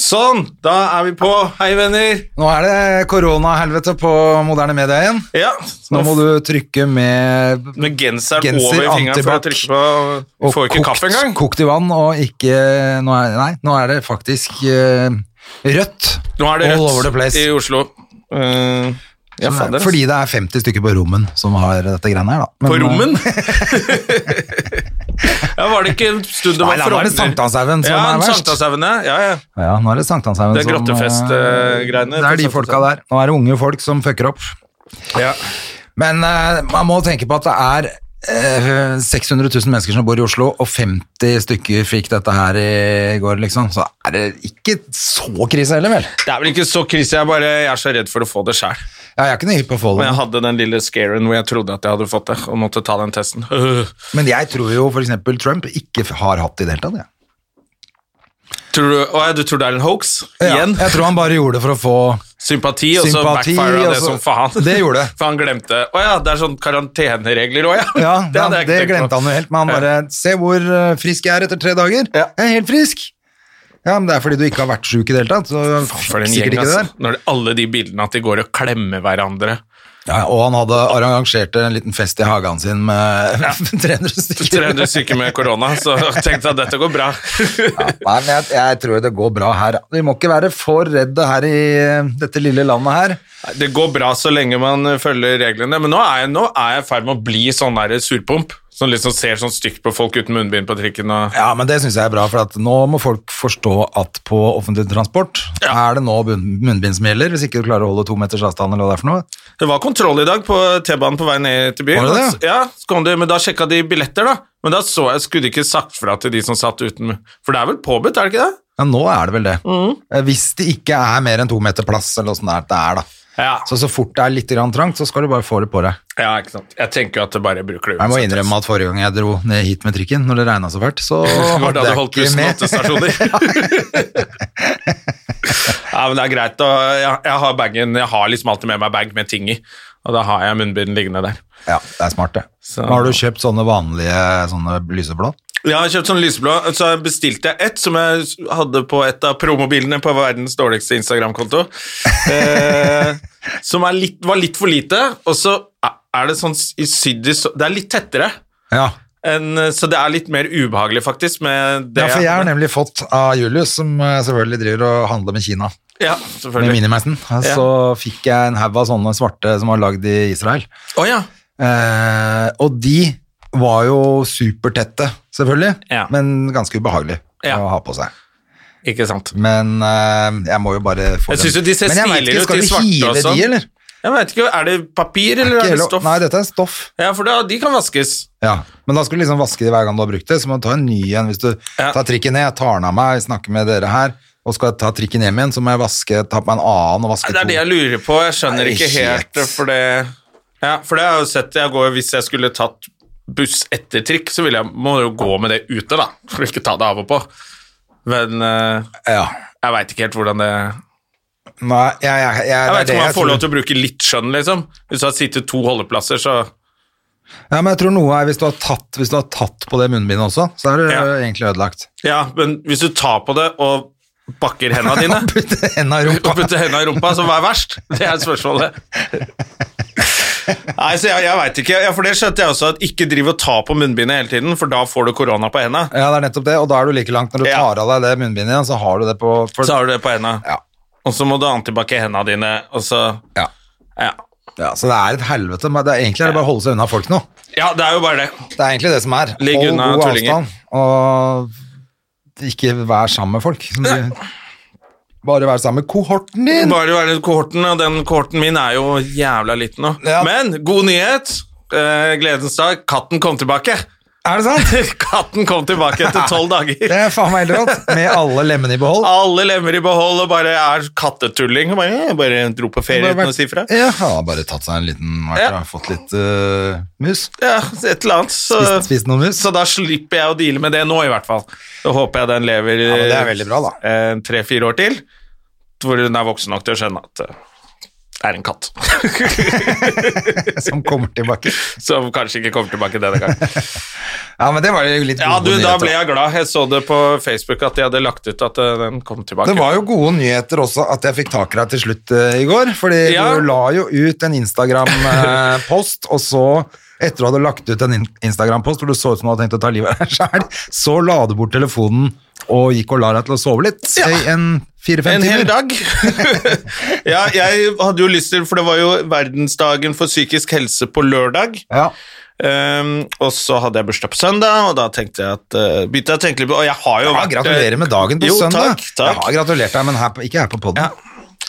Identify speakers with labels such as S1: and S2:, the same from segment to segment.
S1: Sånn, da er vi på. Hei, venner.
S2: Nå er det koronahelvete på moderne media igjen.
S1: Ja,
S2: Nå må du trykke med
S1: Med genseren
S2: Genser,
S1: over fingeren for å
S2: antibac
S1: trykke på Vi
S2: og
S1: Får ikke kaffe engang.
S2: kokt i vann, og ikke Nå er, nei, nå er det faktisk eh, rødt.
S1: Nå er det
S2: All over the
S1: rødt
S2: place.
S1: i Oslo. Eh, ja, fader. ass.
S2: Fordi det er 50 stykker på rommen som har dette greiene her, da. Men,
S1: På
S2: eh,
S1: rommen? ja, var det ikke en stund det
S2: Nei, da
S1: var
S2: var det
S1: Frogner?
S2: Sankthanshaugen som
S1: ja,
S2: er verst.
S1: Sankthanshaugen, ja. ja, ja.
S2: Ja, nå er det Sankthanshaugen
S1: Det er
S2: som, eh,
S1: grottefest-greiene
S2: Det
S1: på
S2: er de folka der. Nå er det unge folk som fucker opp.
S1: ja.
S2: Men eh, man må tenke på at det er eh, 600 000 mennesker som bor i Oslo, og 50 stykker fikk dette her i går, liksom. Så er det ikke så krise heller, vel?
S1: Det er vel ikke så krise, jeg, er bare, jeg er så redd for å få det sjøl.
S2: Ja, jeg er ikke noe hypp på å få
S1: Men jeg
S2: det.
S1: hadde den lille scaren hvor jeg trodde at jeg hadde fått det, og måtte ta den testen.
S2: Men jeg tror jo for eksempel Trump ikke har hatt det i det hele tatt, jeg.
S1: Tror du, å, ja, du tror det er en hoax?
S2: Ja,
S1: Igjen?
S2: jeg tror han bare gjorde det for å få
S1: Sympati, og så
S2: Sympati,
S1: backfira
S2: og
S1: det
S2: så-
S1: som faen.
S2: Det gjorde det.
S1: For han glemte Å ja, det er sånn karanteneregler òg, ja.
S2: Ja, det,
S1: hadde jeg
S2: det
S1: ikke tenkt på.
S2: glemte han jo helt, men han bare Se hvor eh, frisk jeg er etter tre dager.
S1: Ja.
S2: Jeg er helt frisk. Ja, men det er fordi du ikke har vært sjuk i det hele tatt. Så
S1: For en
S2: sikkert
S1: gjeng,
S2: ikke det der.
S1: altså. Når det, alle de bildene at de går og klemmer hverandre.
S2: Ja, og han hadde arrangert en liten fest i hagen sin med 300 stykker.
S1: 300 syke med korona, så tenkte jeg at dette går bra.
S2: Ja, nei, men jeg, jeg tror det går bra her. Vi må ikke være for redde her i eh, dette lille landet her.
S1: Det går bra så lenge man eh, følger reglene, men nå er jeg nå er jeg i ferd med å bli sånn der surpomp. Som liksom ser sånn stygt på folk uten munnbind på trikken og
S2: Ja, men det syns jeg er bra, for at nå må folk forstå at på offentlig transport er det nå bunn- munnbind som gjelder, hvis ikke du klarer å holde to meters avstand eller hva det er for noe.
S1: Det var kontroll i dag på T-banen på vei ned til byen.
S2: Var det det?
S1: Ja, så kom de, men da sjekka de billetter, da. Men da så jeg, skulle de ikke sagt fra til de som satt uten For det er vel påbudt, er det ikke det?
S2: Ja, nå er det vel det. Eh, Hvis det ikke er mer enn to meter plass, eller åssen det er, det er da.
S1: Ja.
S2: Så så fort det er litt grann trangt, så skal du bare få det på deg.
S1: ja, ikke sant. Jeg tenker jo at det bare bruker det
S2: Jeg må innrømme at forrige gang jeg dro ned hit med trikken, når det regna så fælt, så
S1: Var
S2: hadde
S1: det hadde
S2: jeg
S1: holdt
S2: ikke
S1: pusten
S2: med.
S1: åtte stasjoner. ja, men det er greit. Og jeg, jeg har bagen, jeg har liksom alltid med meg bag med ting i, og da har jeg munnbind liggende der.
S2: Ja, det er smart, det.
S1: Så-
S2: Har du kjøpt sånne vanlige sånne lyseblå?
S1: Jeg har kjøpt sånn lyseblå, så jeg bestilte jeg ett som jeg hadde på et av promobilene på verdens dårligste Instagram-konto, eh, som er litt, var litt for lite, og så er det sånn s- i sydd i så- Det er litt tettere.
S2: Ja.
S1: enn- så det er litt mer ubehagelig, faktisk. Med det
S2: ja, for jeg har nemlig fått av Julius, som eh, selvfølgelig driver og handler med Kina,
S1: Ja,
S2: med
S1: selvfølgelig.
S2: Minimassen, så fikk jeg en haug av sånne svarte som var lagd i Israel.
S1: Å ja.
S2: Eh, og de var jo supertette, selvfølgelig,
S1: Ja.
S2: men ganske ubehagelig
S1: Ja.
S2: å ha på seg.
S1: Ikke sant.
S2: Men eh, jeg må jo bare få
S1: Jeg synes jo de ser
S2: Men jeg vet
S1: stiligere ut,
S2: ikke, skal
S1: de
S2: du
S1: svarte og
S2: hive
S1: sånn.
S2: de, eller?
S1: Jeg vet ikke, Er det papir
S2: Ikke
S1: eller er det
S2: hele-
S1: stoff?
S2: Nei, dette er stoff.
S1: Ja, for da, de kan vaskes.
S2: Ja, men da skal du liksom vaske det hver gang du har brukt det, så må du ta en ny igjen hvis du
S1: Ja.
S2: tar trikken ned, jeg tar den av meg, snakker med dere her, og skal jeg ta trikken hjem igjen, så må jeg vaske, ta på meg en annen og vaske
S1: Det er det jeg lurer på. Jeg skjønner
S2: Nei,
S1: ikke helt eh,
S2: shit.
S1: for det Ja, for det har jeg jo sett. Jeg går, hvis jeg skulle tatt buss etter trikk, så ville jeg, må jeg jo gå med det ute, da. For ikke ta det av og på. Men eh,
S2: to. Ja.
S1: jeg veit ikke helt hvordan det
S2: Nei, jeg, jeg, jeg,
S1: Jeg veit
S2: det
S1: ikke om man får
S2: tror.
S1: lov til å bruke litt skjønn, liksom. Hvis du har sittet to holdeplasser, så
S2: Ja, men jeg tror noe er hvis du har tatt, hvis du har tatt på det munnbindet også, så er det
S1: Ja.
S2: øh, egentlig ødelagt.
S1: Ja, men hvis du tar på det og bakker henda dine
S2: Putte hendene i
S1: og
S2: rumpa.
S1: putte henda i rumpa, så hva er verst? Det er spørsmålet. Nei, så jeg, jeg veit ikke. Ja, for det skjønte jeg også, at ikke driv og ta på munnbindet hele tiden, for da får du korona på henda.
S2: Ja, det er nettopp det, og da er du like langt når du
S1: Ja.
S2: tar av deg det munnbindet igjen, så har du det på... for-
S1: Så har du det på henda.
S2: Ja.
S1: Og så må du antibac i henda dine, og så
S2: Ja.
S1: ja.
S2: ja, så det er et helvete, men det er, egentlig er det bare å holde seg unna folk nå.
S1: ja, det er jo bare det.
S2: Det er egentlig det som er.
S1: Ligg
S2: Hold
S1: unna
S2: god
S1: tullinger.
S2: avstand, og ikke vær sammen med folk. Som sier. Bare vær sammen med kohorten din.
S1: Bare være kohorten, og den kohorten min er jo jævla liten nå.
S2: Ja.
S1: Men god nyhet! Eh, gledens dag, katten kom tilbake.
S2: Er det sant?
S1: Katten kom tilbake etter tolv
S2: Det
S1: dager.
S2: er faen meg helt rått. Med alle lemmene i behold.
S1: Alle lemmer i behold og bare er kattetulling. Og bare, jeg bare dro på ferie uten å si fra.
S2: Ja, han har bare tatt seg en liten
S1: Ja.
S2: vært, og Fått litt eh, mus.
S1: Ja, et eller annet. Så,
S2: Spist, spist noen mus.
S1: så da slipper jeg å deale med det nå, i hvert fall. Da håper jeg den lever
S2: men det er veldig bra, da.
S1: eh, tre-fire år til, hvor hun er voksen nok til å skjønne at eh, det er en katt.
S2: Som kommer tilbake.
S1: Som kanskje ikke kommer tilbake denne gangen.
S2: Ja, men det var jo litt
S1: Ja, du,
S2: gode
S1: da
S2: nyheter.
S1: ble jeg glad. Jeg så det på Facebook at de hadde lagt ut at eh, den kom tilbake.
S2: Det var jo gode nyheter også at jeg fikk tak i deg til slutt eh, i går, fordi
S1: Ja.
S2: du la jo ut en Instagram-post, og så, etter du hadde lagt ut en in- Instagram-post hvor du så ut som du hadde tenkt å ta livet av deg sjøl, så la du bort telefonen og gikk og la deg til å sove litt i en fire-fem
S1: En
S2: timer.
S1: hel dag. ja, jeg hadde jo lyst til, for det var jo verdensdagen for psykisk helse på lørdag.
S2: Ja.
S1: Ehm, og så hadde jeg bursdag på søndag, og da tenkte jeg at eh, begynte jeg å tenke litt på Og jeg har jo
S2: Ja, gratulerer med dagen på
S1: jo,
S2: søndag.
S1: Takk, takk.
S2: Jeg har gratulert deg, men her, på- ikke her på poden. Hvor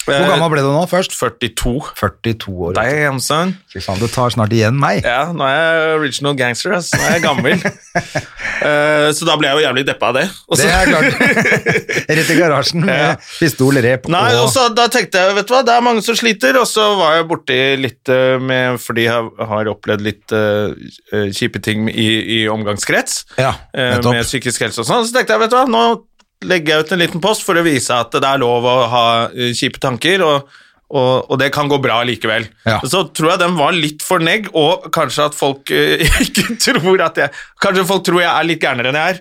S1: Eh,
S2: gammel ble du nå først?
S1: 42.
S2: 42 år.
S1: Damn, son.
S2: Fy faen, det tar snart igjen meg.
S1: Ja, nå er jeg original gangster, ass. Nå er jeg gammel. Eh, så da ble jeg jo jævlig deppa av det. Og så-
S2: Det er klart. Rett i garasjen
S1: Ja.
S2: med pistol, rep
S1: Nei, og
S2: og
S1: så da tenkte jeg, vet du hva, det er mange som sliter, og så var jeg borti litt eh, med, fordi jeg har opplevd litt eh, eh, kjipe ting i, i omgangskrets,
S2: Ja,
S1: eh,
S2: nettopp.
S1: med psykisk helse og sånn, så tenkte jeg, vet du hva, nå legger jeg ut en liten post for å vise at det er lov å ha eh, kjipe tanker, og, og, og det kan gå bra likevel.
S2: Ja.
S1: Så tror jeg den var litt for negg, og kanskje at folk eh, ikke tror at jeg, kanskje folk tror jeg er litt gærnere enn jeg er.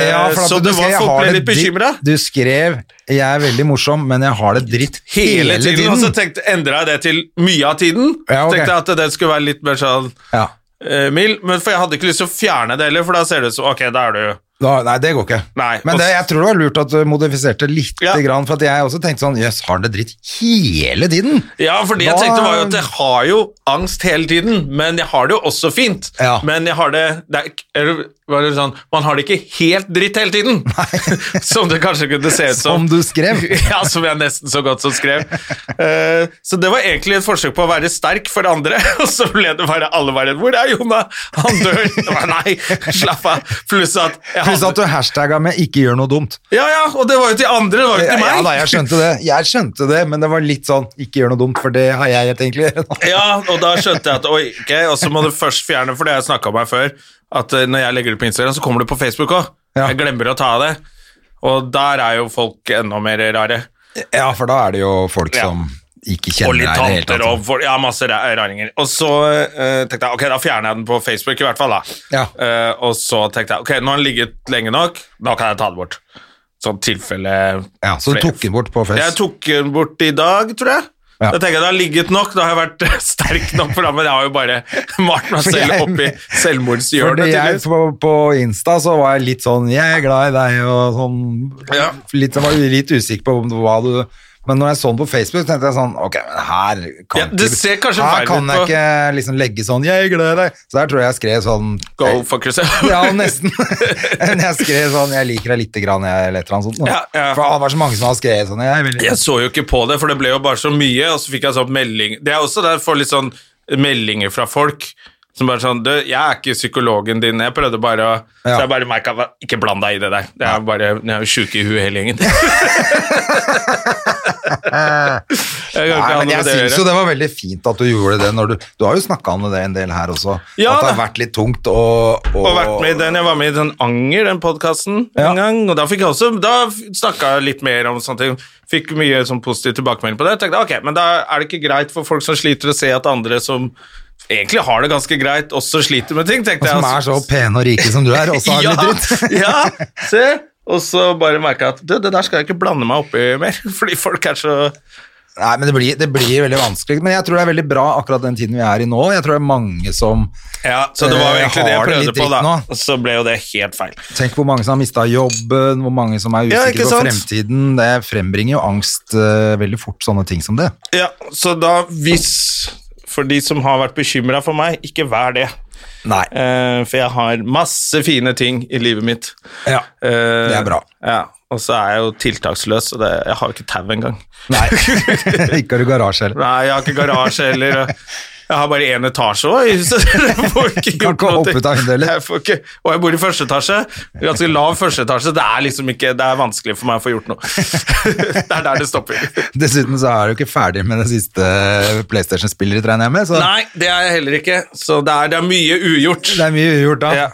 S1: Eh,
S2: Ja, for at
S1: så
S2: du
S1: det var,
S2: skrev, jeg
S1: folk
S2: har
S1: ble
S2: det
S1: litt
S2: dritt.
S1: bekymret.
S2: Du skrev 'jeg er veldig morsom, men jeg har det dritt
S1: hele tiden, altså, og så tenkte, endra jeg det til mye av tiden.
S2: Ja, ok.
S1: Tenkte jeg at det skulle være litt mer sånn
S2: Ja.
S1: eh, mild, men for jeg hadde ikke lyst til å fjerne det heller, for da ser det ut som Ok, da er du
S2: Da, nei, det går ikke.
S1: Nei,
S2: men
S1: og-
S2: det, jeg tror det var lurt at du modifiserte lite
S1: Ja.
S2: grann, for at jeg også tenkte sånn Jøss, har han det dritt hele tiden?
S1: Ja, for det jeg
S2: Da-
S1: tenkte var jo at jeg har jo angst hele tiden, men jeg har det jo også fint.
S2: Ja.
S1: Men jeg har det, det er, ikke- eller, var det sånn, Man har det ikke helt dritt hele tiden, som det kanskje kunne se ut
S2: Som
S1: som.
S2: du skrev.
S1: ja, som jeg nesten så godt som skrev. Eh, så det var egentlig et forsøk på å være sterk for andre, og så ble det bare alle bare 'Hvor er Jonna? Han dør!' Jeg bare, Nei, slapp av. Pluss at jeg
S2: Pluss at
S1: hadde,
S2: du hashtagga med 'ikke gjør noe dumt'.
S1: Ja, ja, og det var jo til andre, det var jo ikke
S2: Ja,
S1: til meg.
S2: ja da, jeg skjønte det, Jeg skjønte det, men det var litt sånn 'ikke gjør noe dumt', for det har jeg egentlig gjort.
S1: Ja, og da skjønte jeg at Oi, ok, og så må du først fjerne, for det har jeg snakka om her før, at eh, når jeg legger det på Instagram, så kommer det på Facebook òg.
S2: Ja.
S1: Jeg glemmer å ta av det. Og der er jo folk enda mer rare.
S2: Ja, for da er det jo folk
S1: Ja.
S2: som ikke
S1: Og
S2: kjenner deg i
S1: litt
S2: det
S1: tanter
S2: hele tatt.
S1: og folk, ja, masse ra- raringer. Og så eh, tenkte jeg ok, da fjerner jeg den på Facebook, i hvert fall. da.
S2: Ja.
S1: Eh, og så tenkte jeg ok, nå har den ligget lenge nok, da kan jeg ta det bort. Sånn tilfelle
S2: Ja, så du
S1: flere-
S2: tok den bort på
S1: Jeg
S2: fest.
S1: tok den bort i dag, tror jeg.
S2: Ja.
S1: Da tenker jeg det har ligget nok, da har jeg vært sterk nok for det, men jeg har jo bare malt
S2: For
S1: meg selv
S2: jeg-
S1: opp i selvmordshjørnet.
S2: Fordi jeg
S1: tydeligvis.
S2: på, på Insta så var jeg litt sånn Jeg er glad i deg og sånn
S1: Ja.
S2: litt, Jeg var litt usikker på om det- hva du Men når jeg så den på Facebook, så tenkte jeg sånn Ok, men her kan,
S1: Ja, det ser kanskje
S2: her
S1: feil
S2: kan
S1: ut
S2: jeg
S1: på-
S2: ikke liksom legge sånn Jeg er glad i deg. Så der tror jeg jeg skrev sånn
S1: Go fuck yourself.
S2: ja, nesten. Men jeg skrev sånn Jeg liker deg lite grann, jeg, eller et eller annet sånt. nå.
S1: Ja, ja.
S2: For det var så mange som har skrevet sånn jeg, vil-
S1: Jeg så jo ikke på det, for det ble jo bare så mye, og så fikk jeg sånn melding. Det er også der jeg får litt sånn meldinger fra folk som bare sånn Du, jeg er ikke psykologen din, jeg prøvde bare å Så
S2: Ja.
S1: jeg bare merka Ikke bland deg i det der. Det er bare Jeg er jo sjuk i huet hele gjengen. jeg kan ikke
S2: Nei,
S1: ha noe
S2: men jeg
S1: med det å
S2: synes jo
S1: gjøre.
S2: det var veldig fint at du gjorde det når du Du har jo snakka om det en del her også.
S1: Ja,
S2: at det har
S1: da.
S2: vært litt tungt og,
S1: Og vært med i den, Jeg var med i den Anger, den podkasten,
S2: Ja.
S1: en gang. Og da fikk jeg også Da snakka jeg litt mer om sånne ting. Fikk mye sånn positiv tilbakemelding på det. Jeg tenkte ok, men da er det ikke greit for folk som sliter, å se at andre som egentlig har det ganske greit, også sliter med ting, tenkte jeg.
S2: Som er så pene og rike som du er, og så har du litt dritt.
S1: altså- ja, se. Og så bare merka jeg at du, det der skal jeg ikke blande meg oppi mer, fordi folk er så
S2: Nei, men det blir, det blir veldig vanskelig. Men jeg tror det er veldig bra akkurat den tiden vi er i nå. Jeg tror det er mange som
S1: Ja, så det var jo
S2: Eh,
S1: egentlig det jeg
S2: har det
S1: prøvde
S2: litt
S1: på, da.
S2: dritt nå.
S1: Og så ble jo det helt feil.
S2: Tenk hvor mange som har mista jobben, hvor mange som er
S1: Ja,
S2: usikre
S1: ikke
S2: på
S1: sant?
S2: fremtiden. Det frembringer jo angst eh, veldig fort, sånne ting som det.
S1: Ja, så da hvis For de som har vært bekymra for meg, ikke vær det.
S2: Nei.
S1: Eh, for jeg har masse fine ting i livet mitt.
S2: Ja.
S1: Eh,
S2: Det er bra.
S1: Ja, og så er jeg jo tiltaksløs, og det, jeg har jo ikke tau engang.
S2: Nei. Ikke har du garasje heller.
S1: Nei, jeg har ikke garasje heller. og- Jeg har bare én etasje òg i huset. Jeg får ikke
S2: Kan
S1: gjort
S2: ikke
S1: noe.
S2: hoppe ut av vinduet, eller?
S1: Jeg får ikke- Og jeg bor i første etasje. Ganske lav første etasje. Det er liksom ikke, det er vanskelig for meg å få gjort noe. Det er der det stopper.
S2: Dessuten så er du ikke ferdig med det siste PlayStation-spillet ditt, regner jeg med. Så
S1: Nei, det er jeg heller ikke. Så det er, det er mye ugjort.
S2: det er mye ugjort da.
S1: Ja.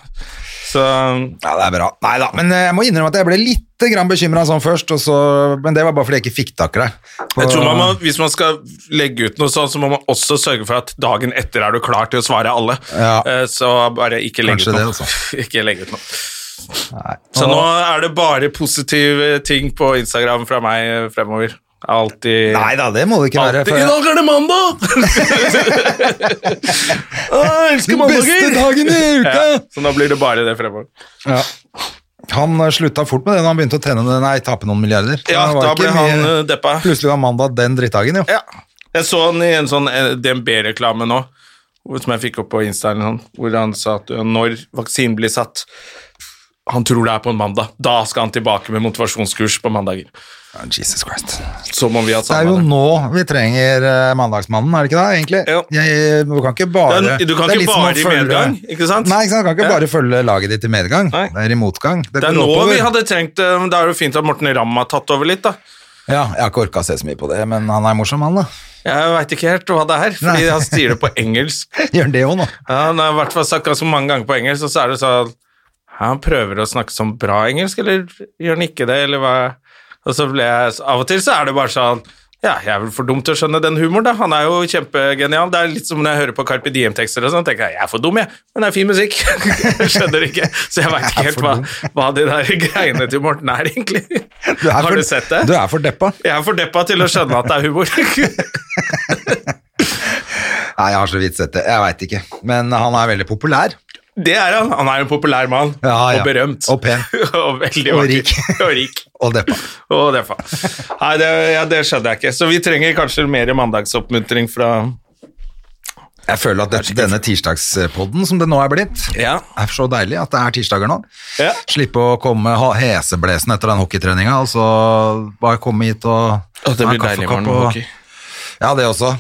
S1: Så
S2: Ja, det er bra. Nei da, men eh, jeg må innrømme at jeg ble litt bekymra sånn først, og så, men det var bare fordi jeg ikke fikk tak i deg.
S1: Jeg tror man må, Hvis man skal legge ut noe sånt, så må man også sørge for at dagen etter er du klar til å svare alle.
S2: Ja.
S1: Eh, Så bare ikke legge
S2: Kanskje
S1: ut
S2: det,
S1: noe.
S2: altså.
S1: ikke legge ut noe.
S2: Nei.
S1: Så nå er det bare positive ting på Instagram fra meg eh, fremover. Alltid
S2: Nei da, det må det ikke være.
S1: Alltid. I
S2: For
S1: dag er det mandag! Å, jeg elsker
S2: den beste
S1: mandager!
S2: dagen i uka!
S1: Ja, så nå blir det bare det fremover.
S2: Ja. Han eh, slutta fort med det når han begynte å tjene, nei, tape noen milliarder.
S1: Ja,
S2: Det var
S1: da
S2: ikke
S1: ble han
S2: mye-
S1: eh, deppa.
S2: Plutselig var mandag den drittdagen, jo.
S1: Ja. Jeg så han i en sånn eh, DNB-reklame nå, hvor- som jeg fikk opp på Insta, eller sånn, hvor han sa at eh, når vaksinen blir satt han tror det er på en mandag. Da skal han tilbake med motivasjonskurs på mandager.
S2: Ja, Jesus Christ.
S1: Som om vi hadde
S2: Det er jo
S1: sammen.
S2: nå vi trenger eh, mandagsmannen, er det ikke det, egentlig?
S1: Jo.
S2: Jeg, eh, du kan ikke bare
S1: Det er- du kan
S2: det er
S1: ikke
S2: litt som å
S1: bare i
S2: følge-
S1: medgang, ikke sant?
S2: Nei, ikke sant? du kan ikke
S1: Ja.
S2: bare følge laget ditt i medgang.
S1: Nei.
S2: Det er i motgang.
S1: Det er
S2: går
S1: nå
S2: oppover.
S1: vi hadde trengt eh, men Da er det jo fint at Morten Ramm har tatt over litt, da.
S2: Ja, jeg har ikke orka å se så mye på det, men han er morsom, han, da.
S1: Jeg veit ikke helt hva det er, fordi
S2: Nei.
S1: han sier det på engelsk.
S2: Gjør han det òg, nå?
S1: Ja, han har i hvert fall sagt ganske mange ganger på engelsk, og så er det sånn Han prøver å snakke sånn bra engelsk, eller gjør han ikke det, eller hva Og så ble jeg så Av og til så er det bare sånn ja, jeg er vel for dum til å skjønne den humoren, da. Han er jo kjempegenial. Det er litt som når jeg hører på Carpe Diem-tekster og sånn, tenker jeg jeg er for dum, jeg, men det er fin musikk. jeg skjønner ikke. Så jeg veit ikke helt hva, hva de der greiene til Morten er, egentlig.
S2: Du er
S1: Har
S2: for-
S1: du sett det?
S2: Du er for deppa.
S1: Jeg er for deppa til å skjønne at det er humor.
S2: Nei, jeg har så vidt sett det. Jeg veit ikke. Men han er veldig populær.
S1: Det er han. Han er en populær mann,
S2: Ja, ja.
S1: og berømt.
S2: Og pen.
S1: og veldig
S2: Og
S1: vakker.
S2: rik.
S1: og rik.
S2: Og deppa.
S1: Og det, er faen. Nei, det, ja, det skjønner jeg ikke. Så vi trenger kanskje mer mandagsoppmuntring fra
S2: Jeg føler at dette, denne tirsdagspodden som det nå er blitt,
S1: Ja.
S2: er så deilig at det er tirsdager nå.
S1: Ja.
S2: Slippe å komme ha- heseblesen etter den hockeytreninga, og så bare komme hit og
S1: Å, det
S2: ha en
S1: blir deilig i
S2: kaffekopp
S1: morgen med
S2: og-
S1: hockey. Mm.
S2: Ja, det også.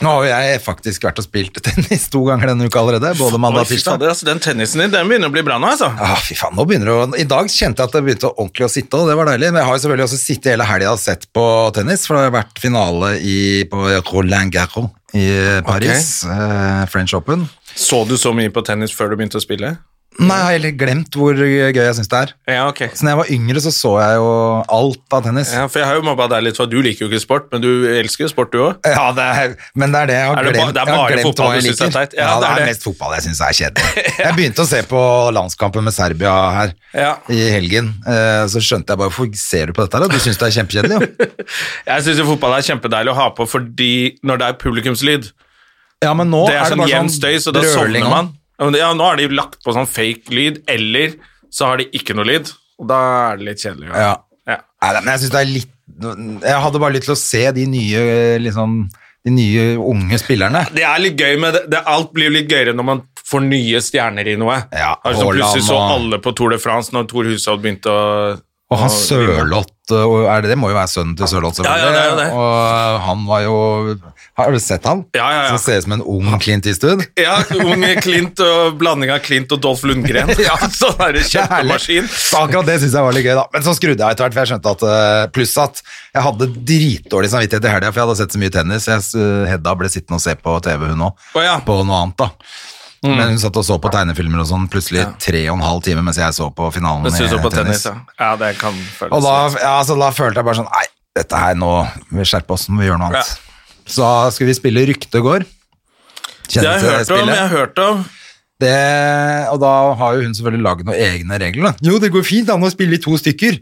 S2: Nå har jo jeg faktisk vært og spilt tennis to ganger denne uka allerede, både mandag
S1: Oi,
S2: og
S1: fy
S2: tirsdag.
S1: fader, altså, den tennisen din den begynner å bli bra nå, altså.
S2: Ah, fy faen, nå begynner det å... I dag kjente jeg at det begynte ordentlig å sitte, og det var deilig. Men jeg har jo selvfølgelig også sittet hele helga og sett på tennis, for det har vært finale i, på Roland Garros i Paris. Eh, French Open.
S1: Så du så mye på tennis før du begynte å spille?
S2: Nei, jeg har heller glemt hvor gøy jeg syns det er.
S1: Ja, ok.
S2: Så når jeg var yngre, så så jeg jo alt av tennis.
S1: Ja, for jeg har jo mobba deg litt, for du liker jo ikke sport, men du elsker jo sport, du òg.
S2: Ja, det er, men det er det jeg har
S1: Er det ba-
S2: glemt.
S1: det er
S2: jeg har
S1: bare
S2: glemt
S1: fotball
S2: hva jeg
S1: du synes er
S2: liker.
S1: teit?
S2: Ja, det er mest fotball jeg syns er kjedelig. Jeg begynte å se på landskampen med Serbia her
S1: Ja.
S2: i helgen. eh, Så skjønte jeg bare Hvorfor ser du på dette? her, da? Du syns det er kjempekjedelig, jo.
S1: Jeg syns fotball er kjempedeilig å ha på fordi når det er publikumslyd
S2: Ja, men nå
S1: det er, sånn
S2: bare
S1: jevn støy, så da
S2: brøling
S1: sovner
S2: og-
S1: man. Ja, men det- Ja, nå har de lagt på sånn fake lyd, eller så har de ikke noe lyd, og da er det litt kjedelig.
S2: Ja.
S1: Ja.
S2: Nei, men jeg syns det er litt Jeg hadde bare lyst til å se de nye, liksom de nye unge spillerne.
S1: Det er litt gøy, men det, det, alt blir jo litt gøyere når man får nye stjerner i noe.
S2: Ja,
S1: altså, plutselig
S2: Haaland
S1: så
S2: og-
S1: alle på Tour de France når Tor Hushovd begynte å
S2: Og han
S1: å-
S2: Sørloth og er det, det må jo være sønnen til Sørloth,
S1: Ja, ja,
S2: selvfølgelig.
S1: det er jo det.
S2: Og han var jo Har du sett han?
S1: Ja, ja, ja.
S2: Som ser ut som en ung Clint Eastwood.
S1: Ja, unge Klint og blanding av Klint og Dolph Lundgren. ja, sånn er det
S2: Det er herlig.
S1: kjempemaskin.
S2: Så Akkurat det syns jeg var litt gøy, da. Men så skrudde jeg etter hvert, for jeg skjønte at eh, Pluss at jeg hadde dritdårlig samvittighet i helga, for jeg hadde sett så mye tennis. Jeg, eh, Hedda ble sittende og se på TV, hun òg.
S1: Å, ja. Mm.
S2: På noe annet, da. Men hun satt og så på tegnefilmer og sånn plutselig tre og en halv time mens jeg så på finalen
S1: Mens
S2: i
S1: du så på tennis,
S2: tennis.
S1: ja. ja. Det kan føles
S2: Og da, ja, så da følte jeg bare sånn Nei, dette her nå Vi skjerper oss, nå må vi gjøre noe annet. Så da skulle vi spille Rykte gård.
S1: Det har
S2: Kjenner du til det
S1: jeg hørt om.
S2: spillet?
S1: Jeg har hørt om.
S2: Det, og da har jo hun selvfølgelig laget noen egne regler. Da. Jo, det går fint an å spille i to stykker.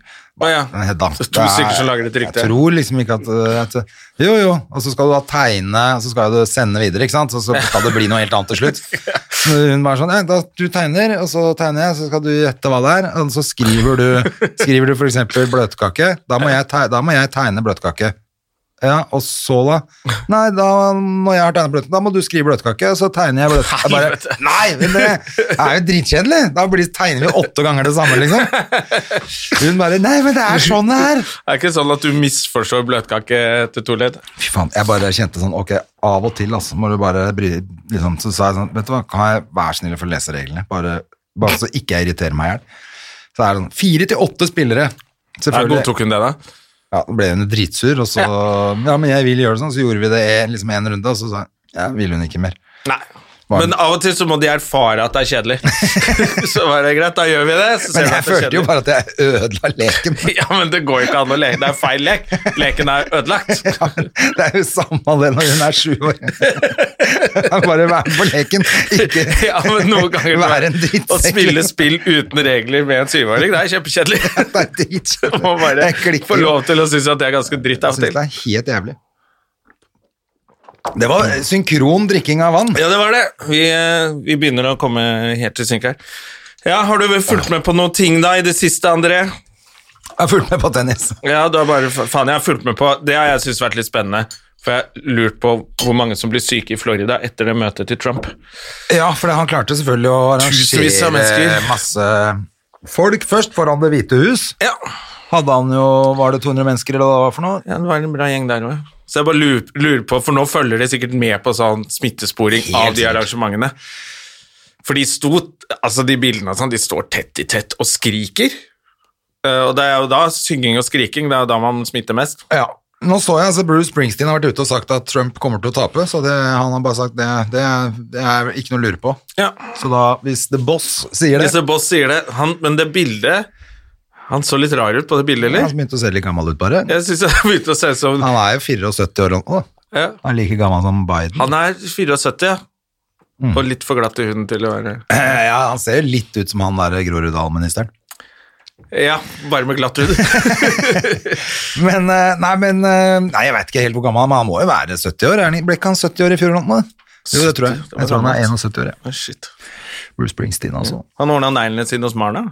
S1: Å, ja.
S2: Men Hedda,
S1: Så to
S2: det er-
S1: stykker som lager et rykte.
S2: Jeg tror liksom ikke at, uh, at Jo, jo, og så skal du da tegne, og så skal du sende videre, ikke sant? Så, så skal det bli noe helt annet til slutt. Så hun bare sånn, ja, da, du tegner, og så tegner jeg, så skal du gjette hva det er, og så skriver du, skriver du for eksempel bløtkake, da må jeg, teg- da må jeg tegne bløtkake. Ja, og så da? Nei, da, når jeg har tegnet bløtkake, da må du skrive bløtkake, så tegner jeg bløtkake. Jeg bare, nei, men det er jo dritkjedelig! Da blir, tegner vi åtte ganger det samme, liksom. Hun bare, nei, men det er sånn det er!
S1: Det er ikke sånn at du misforstår bløtkake til to ledd.
S2: Fy faen, jeg bare kjente sånn, ok, av og til, altså, må du bare bry, liksom, så sa jeg sånn, vet du hva, kan jeg være snill og få lese reglene? Bare, bare så ikke jeg irriterer meg ihjel. Så er det sånn, fire til åtte spillere.
S1: Nei,
S2: Selvfølgelig.
S1: Godtok hun det, da?
S2: Ja, da ble hun jo dritsur, og så ja. men jeg vil gjøre det sånn, så gjorde vi det en- liksom en runde, og så sa hun, ja, vil hun ikke mer.
S1: Nei. Men av og til så må de erfare at det er kjedelig. så var det greit, da gjør vi det. Så
S2: Men jeg
S1: ser vi at det er
S2: følte jo
S1: kjedelig.
S2: bare at jeg ødela leken.
S1: Ja, men det går ikke an å leke. Det er feil lek. Leken er ødelagt.
S2: Ja, men det er jo samme det når hun er sju år. Bare være med på leken, ikke
S1: Ja, men noen ganger
S2: være en
S1: Å
S2: drittsekk.
S1: spille spill uten regler med en syvåring, det er kjempekjedelig.
S2: Det er dritkjedelig.
S1: Må bare
S2: Jeg klikker.
S1: få lov til å synes at det er ganske dritt
S2: Jeg
S1: av og
S2: synes
S1: til.
S2: det er helt jævlig. Det var synkron drikking av vann.
S1: Ja, det var det. Vi, eh, vi begynner å komme helt til synk her. Ja, Har du vel fulgt med på noen ting da i det siste, André?
S2: Jeg har fulgt med på tennis.
S1: Ja, du har bare, faen, jeg har fulgt med på Det har jeg syntes vært litt spennende. For jeg har lurt på hvor mange som blir syke i Florida etter det møtet til Trump.
S2: Ja, for han klarte selvfølgelig å
S1: Tusenvis av
S2: arrangere
S1: mennesker.
S2: masse folk. Først foran Det hvite hus.
S1: Ja,
S2: Hadde han jo, var det 200 mennesker eller hva det var for noe?
S1: det var en bra gjeng der òg. Så jeg bare lurer, lurer på, for nå følger de sikkert med på sånn smittesporing
S2: Helt
S1: av de
S2: sikkert.
S1: arrangementene. For de sto, altså de bildene og sånn, de står tett i tett og skriker. Eh, og det er jo da synging og skriking, det er jo da man smitter mest.
S2: Ja. Nå så jeg altså Bruce Springsteen har vært ute og sagt at Trump kommer til å tape, så det, han har bare sagt det, det, det er ikke noe å lure på.
S1: Ja.
S2: Så da, hvis The Boss sier det
S1: Hvis The Boss sier det, han, men det bildet Han så litt rar ut på det bildet, eller?
S2: Han begynte å se litt gammel ut, bare.
S1: Jeg syns han begynte å se ut som
S2: Han er jo 74 år nå. da.
S1: ja.
S2: Han er like gammel som Biden.
S1: Han er 74, ja.
S2: Mm.
S1: Og litt for glatt i huden til å være
S2: Eh, ja, han ser jo litt ut som han der Groruddalen-ministeren.
S1: Ja, bare med glatt hud.
S2: Men, eh, nei, men eh, Nei, jeg veit ikke helt hvor gammel han er, men han må jo være 70 år. er han- Ble ikke han 70 år i fjor eller noe? Jo, det tror jeg.
S1: 70, det var Mm.
S2: Jeg tror han er
S1: gammelt.
S2: 71 år, ja.
S1: Å, Shit.
S2: Bruce Springsteen, altså.
S1: Han ordna neglene sine hos Marna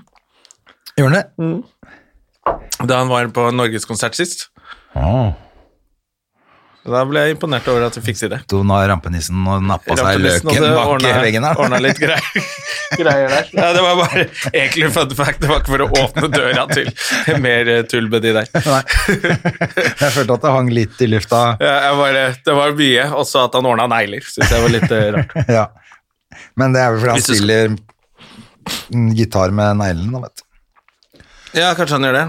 S2: Gjør han det?
S1: Mm. da han var på norgeskonsert sist.
S2: Ah.
S1: Da ble jeg imponert over at du fikk si det.
S2: Da når rampenissen og nappa seg Altså,
S1: Rampelysten
S2: løken
S1: hadde
S2: bak
S1: ordnet-
S2: veggen her.
S1: ordnet litt greier, greier der. Ja, det var bare egentlig fun fact. Det var ikke for å åpne døra til mer eh, tull med de der.
S2: Jeg følte at det hang litt i lufta.
S1: Ja, Jeg bare, det var mye, også at han ordna negler. Syns jeg var litt eh, rart.
S2: Ja. Men det er vel fordi han
S1: Hvis du skal-
S2: spiller mm, gitar med neglen, da, vet du.
S1: Ja, kanskje han gjør det.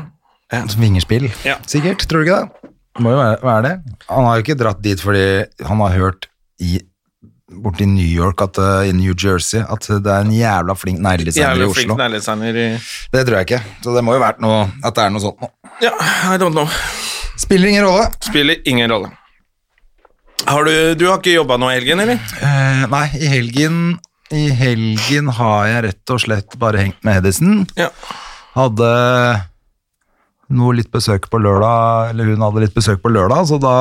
S2: Som vingerspill,
S1: Ja.
S2: sikkert. Tror du ikke det? Det Må jo være, være det. Han har jo ikke dratt dit fordi han har hørt i borti New York, at, eh, i New Jersey, at det er en jævla flink negledesigner i
S1: Jævlig
S2: Oslo.
S1: flink negledesigner i
S2: Det tror jeg ikke. Så det må jo vært noe, at det er noe sånt nå.
S1: Ja, I don't know.
S2: Spiller ingen rolle.
S1: Spiller ingen rolle. Har du, du har ikke jobba nå i helgen, eller?
S2: Eh, nei, i helgen, i helgen har jeg rett og slett bare hengt med Hedison.
S1: Ja.
S2: Hadde noe litt besøk på lørdag, eller hun hadde litt besøk på lørdag, så da,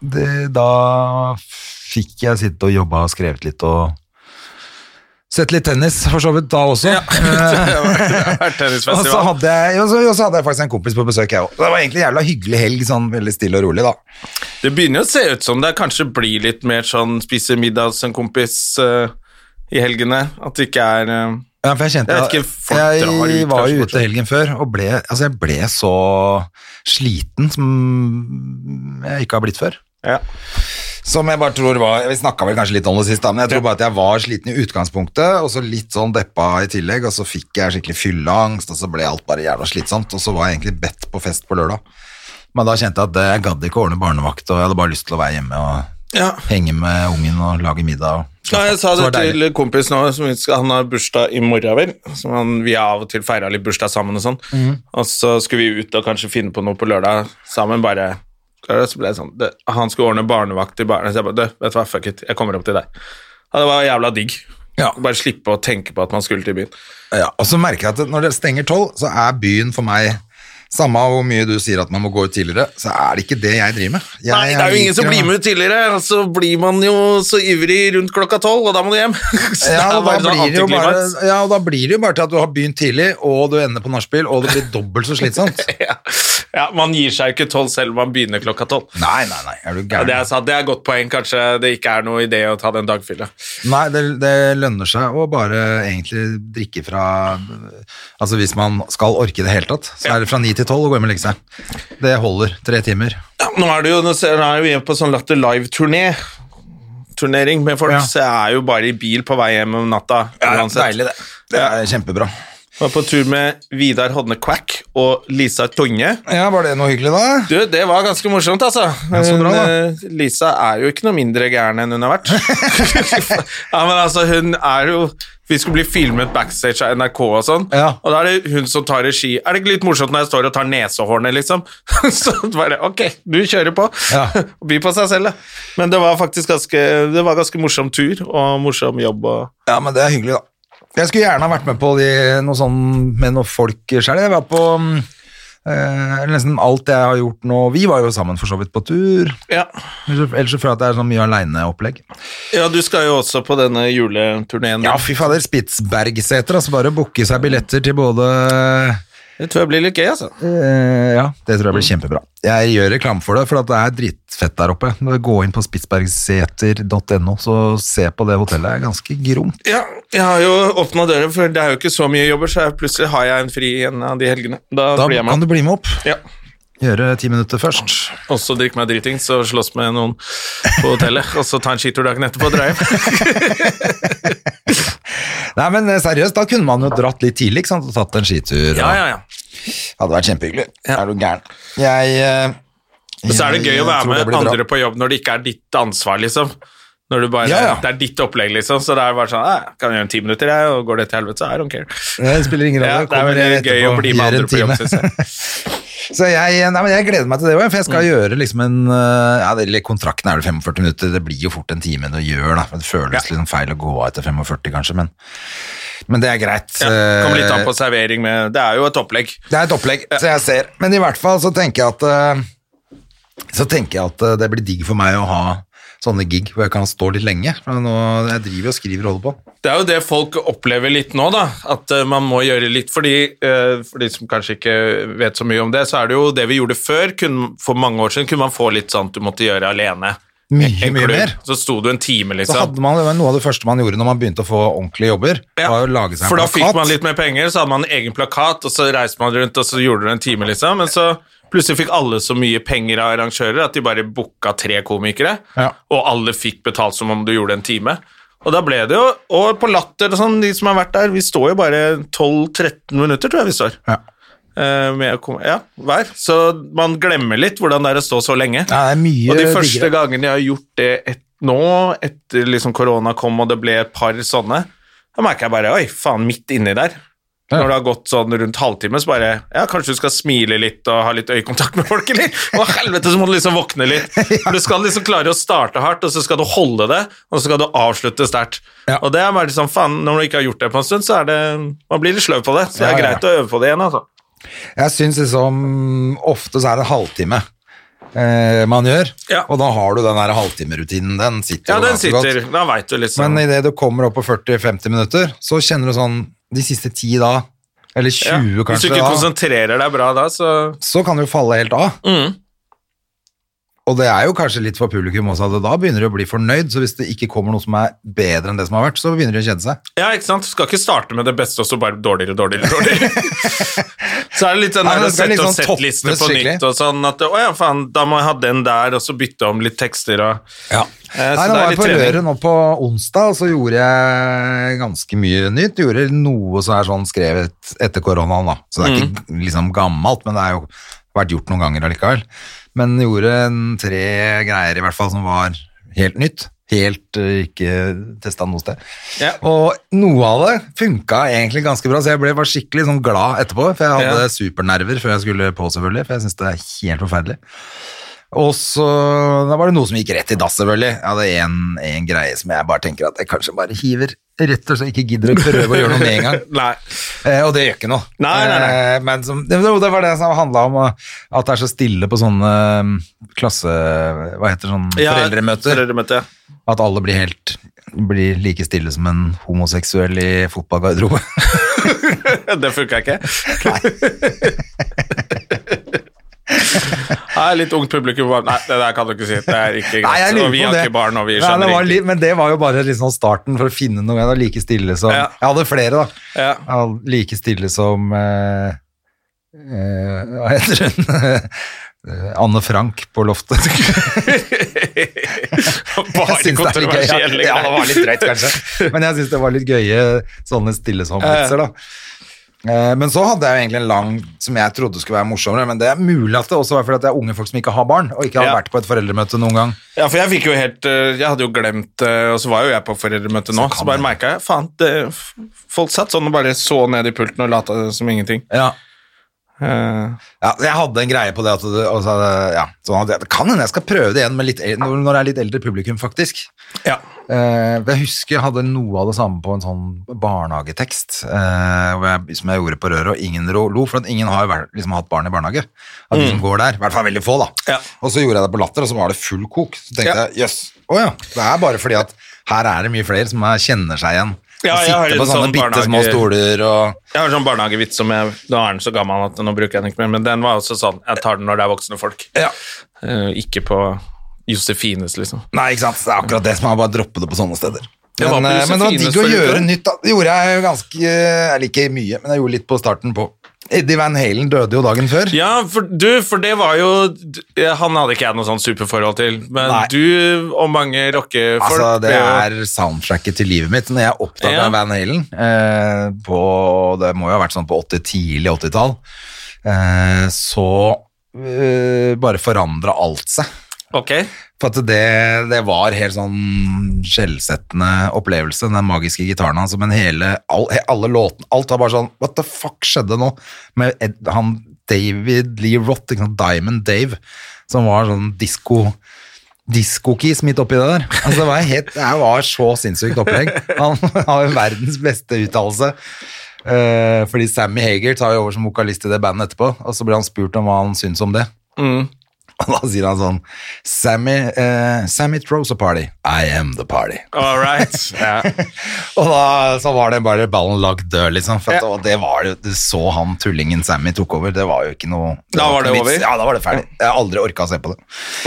S2: det, da fikk jeg sitte og jobbe og skrevet litt og sett litt tennis, for så vidt da også. Eh, og så
S1: Tennisfestival.
S2: hadde jeg, og så, og så hadde jeg faktisk en kompis på besøk, jeg òg. Det var egentlig en jævla hyggelig helg, sånn veldig stille og rolig, da.
S1: Det begynner jo å se ut som det kanskje blir litt mer sånn spise middag hos en kompis eh, i helgene. At det ikke er eh,
S2: Ja, for jeg kjente
S1: Jeg vet ikke, folk
S2: jeg
S1: drar ut,
S2: var
S1: kanskje,
S2: jo ute
S1: fortsatt.
S2: helgen før, og ble, altså jeg ble så sliten som jeg ikke har blitt før.
S1: eh, ja.
S2: Som jeg bare tror var, vi snakket vel kanskje litt om det sist, da, men jeg tror bare at jeg var sliten i utgangspunktet, og så litt sånn deppa i tillegg, og så fikk jeg skikkelig fylleangst, og så ble alt bare jævla slitsomt, og så var jeg egentlig bedt på fest på lørdag. Men da kjente jeg at det, jeg gadd ikke å ordne barnevakt, og jeg hadde bare lyst til å være hjemme og
S1: Ja.
S2: henge med ungen og lage middag. Og,
S1: Ja, jeg
S2: Så
S1: sa det
S2: var deilig.
S1: til kompis nå, som vi skal, han har bursdag i morgen, vel. Som han, vi har av og til feira litt bursdag sammen og sånn.
S2: Mhm.
S1: Og så skulle vi ut og kanskje finne på noe på lørdag sammen, bare. Og Så ble det sånn, det, han skulle ordne barnevakt til barna, så jeg bare, du, vet du hva, fuck it, jeg kommer opp til deg. Ja, det var jævla digg.
S2: Ja.
S1: Bare slippe å tenke på at man skulle til byen.
S2: Ja, og så merker jeg at når det stenger tolv, så er byen for meg Samme hvor mye du sier at man må gå ut tidligere, så er det ikke det jeg driver med. Jeg,
S1: Nei, det er jo ingen som
S2: liker å-
S1: blir med ut tidligere, og så blir man jo så ivrig rundt klokka tolv, og da må du hjem.
S2: Ja,
S1: Så det er
S2: og da
S1: bare sånn
S2: blir det jo bare,
S1: antiklimaks.
S2: ja, og da blir det jo bare til at du har begynt tidlig, og du ender på nachspiel, og det blir dobbelt så slitsomt.
S1: Ja. Ja, Man gir seg ikke tolv selv om man begynner klokka tolv.
S2: Nei, nei, nei, er du
S1: Ja,
S2: gæren?
S1: det er sant, det er et godt poeng. Kanskje det ikke er noe idé å ta den dagfylla.
S2: Nei, det, det lønner seg å bare egentlig drikke fra Altså hvis man skal orke i det hele tatt, så er det fra ni til tolv å gå hjem og legge seg. Det holder. Tre timer.
S1: Ja, Nå er det jo, nå ser- nå er vi på sånn Latter Live-turné. Turnering med folk,
S2: Ja.
S1: så jeg er jo bare i bil på vei hjem om natta.
S2: Deilig, det. Det er kjempebra.
S1: Var på tur med Vidar Hodne Quack og Lisa Tonje.
S2: Ja, Var det noe hyggelig, da?
S1: Du, det var ganske morsomt, altså.
S2: så bra, da.
S1: Hun, eh, Lisa er jo ikke noe mindre gæren enn hun har vært. ja, men altså, hun er jo Vi skulle bli filmet backstage av NRK og sånn,
S2: Ja.
S1: og da er det hun som tar regi. Er det ikke litt morsomt når jeg står og tar nesehårene, liksom? så bare Ok, du kjører på.
S2: Ja.
S1: Og By på seg selv, da. Men det var faktisk ganske Det var ganske morsom tur og morsom jobb og
S2: Ja, men det er hyggelig, da. Jeg skulle gjerne ha vært med på de, noe sånn med noen folk sjøl. Jeg var på mm, eh, nesten alt jeg har gjort nå. Vi var jo sammen for så vidt på tur.
S1: ja.
S2: Ellers så føler jeg at det er sånn mye aleine-opplegg.
S1: ja, du skal jo også på denne juleturneen.
S2: Ja, fy fader. Spitsbergseter, altså. Bare booke seg billetter til både
S1: Det tror jeg blir litt gøy, altså.
S2: eh, Ja, det tror jeg blir kjempebra. Jeg gjør reklame for det, for at det er dritfett der oppe. Gå inn på spitsbergseter.no, så se på det hotellet. Det er ganske gromt.
S1: Ja, jeg har jo åpna døra, for det er jo ikke så mye jobber, så jeg plutselig har jeg en fri en av de helgene. Da,
S2: Da
S1: blir jeg
S2: kan
S1: med.
S2: du bli med opp.
S1: Ja.
S2: Gjøre ti minutter først.
S1: Og så drikke meg dritings og slåss med noen på hotellet, og så ta en skitur dagen etterpå og dra hjem.
S2: Nei, men eh, seriøst, da kunne man jo dratt litt tidlig ikke sant? og tatt en skitur. og-
S1: Ja, ja, ja.
S2: Hadde vært kjempehyggelig. Er du gæren? Jeg eh,
S1: Men så er det
S2: jeg
S1: gøy å være
S2: tror det
S1: med
S2: blir bra.
S1: andre på jobb når det ikke er ditt ansvar, liksom. Når du bare,
S2: Ja, ja.
S1: Det er ditt opplegg, liksom. Så det er bare sånn «Eh, Kan jeg gjøre en ti minutter, jeg, og går det til helvete, så I don't care.
S2: Det spiller ingen
S1: Ja,
S2: rolle.
S1: det er
S2: Kommer
S1: veldig
S2: rett
S1: gøy å
S2: etterpå,
S1: bli med
S2: gjør en
S1: andre på jobb,
S2: time.
S1: syns jeg.
S2: Så jeg, eh, nei, men jeg gleder meg til det òg, for jeg
S1: Mm.
S2: skal gjøre liksom en eh, ja, det- eller Kontrakten er vel 45 minutter, det blir jo fort en time du gjør, da. for Det føles litt sånn feil å gå av etter 45, kanskje, men, men det er greit.
S1: Ja, Kommer litt an
S2: Eh,
S1: på servering med Det er jo et opplegg.
S2: Det er et opplegg, så jeg ser. Men i hvert fall så tenker jeg at eh, Så tenker jeg at eh, det blir digg for meg å ha sånne gig hvor jeg kan stå litt lenge. For nå, jeg driver og skriver og holder på.
S1: Det er jo det folk opplever litt nå, da. At eh, man må gjøre litt. Fordi, eh, for de som kanskje ikke vet så mye om det, så er det jo det vi gjorde før. Kun, for mange år siden kunne man få litt sånn at du måtte gjøre alene.
S2: Mye,
S1: En
S2: mye
S1: klubb.
S2: mer.
S1: Så sto du en time,
S2: Så
S1: liksom.
S2: hadde man, det var noe av det første man gjorde når man begynte å få ordentlige jobber.
S1: Ja,
S2: var å lage seg en
S1: for da
S2: plakat.
S1: fikk man litt mer penger, så hadde man en egen plakat, og så reiste man rundt, og så gjorde du en time, liksom. Men så plutselig fikk alle så mye penger av arrangører at de bare booka tre komikere,
S2: Ja.
S1: og alle fikk betalt som om du gjorde en time. Og da ble det jo Og på Latter og sånn, de som har vært der, vi står jo bare 12-13 minutter, tror jeg vi står.
S2: Ja.
S1: Eh, Med å komme, ja, hver. Så man glemmer litt hvordan det er å stå så lenge.
S2: Ja, det er mye
S1: Og de
S2: diggere.
S1: første gangene jeg har gjort det et, nå, etter liksom korona kom og det ble et par sånne, da merker jeg bare Oi, faen, midt inni der.
S2: Ja.
S1: Når det har gått sånn rundt halvtime, så bare Ja, kanskje du skal smile litt og ha litt øyekontakt med folk, eller? Å, helvete, så må du liksom våkne litt. For du skal liksom klare å starte hardt, og så skal du holde det, og så skal du avslutte sterkt.
S2: Ja.
S1: Og det er bare sånn, faen, når du ikke har gjort det på en stund, så er det Man blir litt sløv på det, så det er
S2: Ja, ja.
S1: greit å øve på det igjen, altså.
S2: Jeg syns liksom ofte så er det en halvtime eh, man gjør,
S1: Ja.
S2: og da har du den der halvtimerutinen. Den sitter
S1: Ja,
S2: jo
S1: den
S2: ganske godt.
S1: sitter. Da veit du liksom
S2: Men idet du kommer opp på 40-50 minutter, så kjenner du sånn De siste ti da, eller 20
S1: Ja, Hvis
S2: kanskje,
S1: du
S2: da,
S1: ikke konsentrerer deg bra da, så
S2: så kan du falle helt av.
S1: Mhm.
S2: Og det er jo kanskje litt for publikum også, at da begynner de å bli fornøyd. Så hvis det ikke kommer noe som er bedre enn det som har vært, så begynner de å kjede seg.
S1: Ja, ikke sant? Du skal ikke starte med det beste og så bare dårligere, dårligere, dårligere. så er det litt den
S2: Nei,
S1: der
S2: men
S1: å
S2: det skal
S1: sette
S2: liksom
S1: opp settlistene
S2: toppes
S1: på
S2: skikkelig.
S1: nytt og sånn at Å ja, faen, da må jeg ha den der, og så bytte om litt tekster og Eh,
S2: Nei,
S1: så det
S2: nå
S1: er
S2: var jeg
S1: litt
S2: på
S1: trening.
S2: røret nå på onsdag, og så gjorde jeg ganske mye nytt. Gjorde noe som er sånn skrevet etter koronaen, da. Så det er
S1: Mm.
S2: ikke liksom gammelt, men det har jo vært gjort noen ganger allikevel. Men gjorde en tre greier i hvert fall som var helt nytt. Helt eh, ikke testa noe sted.
S1: Ja.
S2: Og noe av det funka egentlig ganske bra, så jeg ble var skikkelig sånn glad etterpå. For jeg hadde supernerver før jeg skulle på, selvfølgelig. For jeg syns det er helt forferdelig. Og så da var det noe som gikk rett i dass, selvfølgelig. Jeg hadde en, en greie som jeg bare tenker at jeg kanskje bare hiver. Rett og slett ikke gidder å prøve å gjøre noe med en gang.
S1: Nei.
S2: Eh, og det gjør ikke noe.
S1: Nei, nei, nei.
S2: Eh, men som, det, jo, det var det som handla om eh, at det er så stille på sånne eh, klasse... Hva heter det, sånn
S1: Ja,
S2: foreldremøter?
S1: Foreldremøte, ja.
S2: At alle blir helt blir like stille som en homoseksuell i fotballgarderobe.
S1: Det funka ikke. Nei, litt ungt publikum var Nei, det der kan du ikke si. Det er ikke greit.
S2: Nei, jeg lurer
S1: og vi
S2: på
S1: har
S2: det.
S1: ikke barn, og vi
S2: Nei,
S1: skjønner
S2: det var
S1: ikke.
S2: litt, men det var jo bare liksom starten for å finne noe. Jeg var like stille som
S1: Ja.
S2: Jeg hadde flere, da.
S1: Ja.
S2: Jeg var like stille som eh, eh, Hva heter hun? Eh, Anne Frank på loftet.
S1: Bare
S2: Jeg synes det er litt liksom. gøy, ja.
S1: kontroversielle
S2: Ja, det var litt
S1: greier.
S2: drøyt, kanskje. Men jeg syns det var litt gøye sånne stillesomvitser, da. Eh, Men så hadde jeg jo egentlig en lang som jeg trodde skulle være morsommere, men det er mulig at det også var fordi at det er unge folk som ikke har barn, og ikke har
S1: Ja.
S2: vært på et foreldremøte noen gang.
S1: Ja, for jeg fikk jo helt eh, Jeg hadde jo glemt eh, Og så var jo jeg på foreldremøte nå,
S2: kan
S1: så bare
S2: det.
S1: merka jeg Faen, det, f- folk satt sånn og bare så ned i pulten og lata som ingenting.
S2: Ja.
S1: Eh,
S2: Ja, jeg hadde en greie på det at det, altså, ja, sånn at jeg- det kan hende jeg skal prøve det igjen med litt, el- når når det er litt eldre publikum, faktisk.
S1: ja.
S2: Eh, jeg husker jeg hadde noe av det samme på en sånn barnehagetekst eh, hvor jeg, som jeg gjorde på røret, og ingen ro, lo, for at ingen har jo vært- liksom, hatt barn i barnehage. Av de som går der, i hvert fall veldig få, da.
S1: Mm. Ja.
S2: Og så gjorde jeg det på latter, og så var det full kok. Så tenkte
S1: Ja.
S2: jeg jøss, å ja. Det er bare fordi at her er det mye flere som er, kjenner seg igjen.
S1: Ja,
S2: Som
S1: jeg har
S2: sitter
S1: en
S2: på sånne
S1: sånn
S2: bitte små
S1: barnehage-
S2: stoler og
S1: Jeg har en sånn barnehagevits som jeg Nå er den så gammel at nå bruker jeg den ikke mer, men den var også sånn Jeg tar den når det er voksne folk. Eh, ikke på Josefines, liksom.
S2: Nei, ikke sant. Det er akkurat det som er å bare droppe det på sånne steder.
S1: Det var
S2: Men,
S1: på
S2: eh, men det var
S1: Josefines
S2: digg å
S1: forrige
S2: gjøre
S1: uke.
S2: nytt. Da. Det gjorde jeg jo ganske eh, Eller ikke mye, men jeg gjorde litt på starten på Eddie Van Halen døde jo dagen før.
S1: Ja, for, du, for det var jo d- Han hadde ikke jeg noe sånn superforhold til, men
S2: Nei.
S1: du og mange rockefolk
S2: altså, det
S1: ble jo-
S2: er soundtracket til livet mitt. Når jeg oppdaga
S1: Ja.
S2: Van Halen eh, på Det må jo ha vært sånn på 80, tidlig 80-tall, eh, så eh, bare forandra alt seg.
S1: Ok.
S2: For at det, det var helt sånn skjellsettende opplevelse, den magiske gitaren hans. Men hele, all, alle låtene Alt var bare sånn What the fuck skjedde nå? Med Ed, han David Lee Roth, ikke sant? Diamond Dave, som var sånn disko Diskokis midt oppi det der. Altså, det, var helt, det var så sinnssykt opplegg. Han har jo verdens beste uttalelse. Eh, fordi Sammy Hager tar jo over som vokalist i det bandet etterpå, og så blir han spurt om hva han syns om det. Og da sier han sånn Sammy, eh, Sammy throws a party. I am the party.
S1: All right. Ja.
S2: Og da så var det bare ballen lagd død, liksom. For at,
S1: Ja.
S2: Og det var det, du så han tullingen Sammy tok over. Det var jo ikke noe
S1: Da var
S2: ikke
S1: det
S2: noe vits.
S1: over?
S2: Ja, da var det ferdig. Jeg har aldri orka å se på det.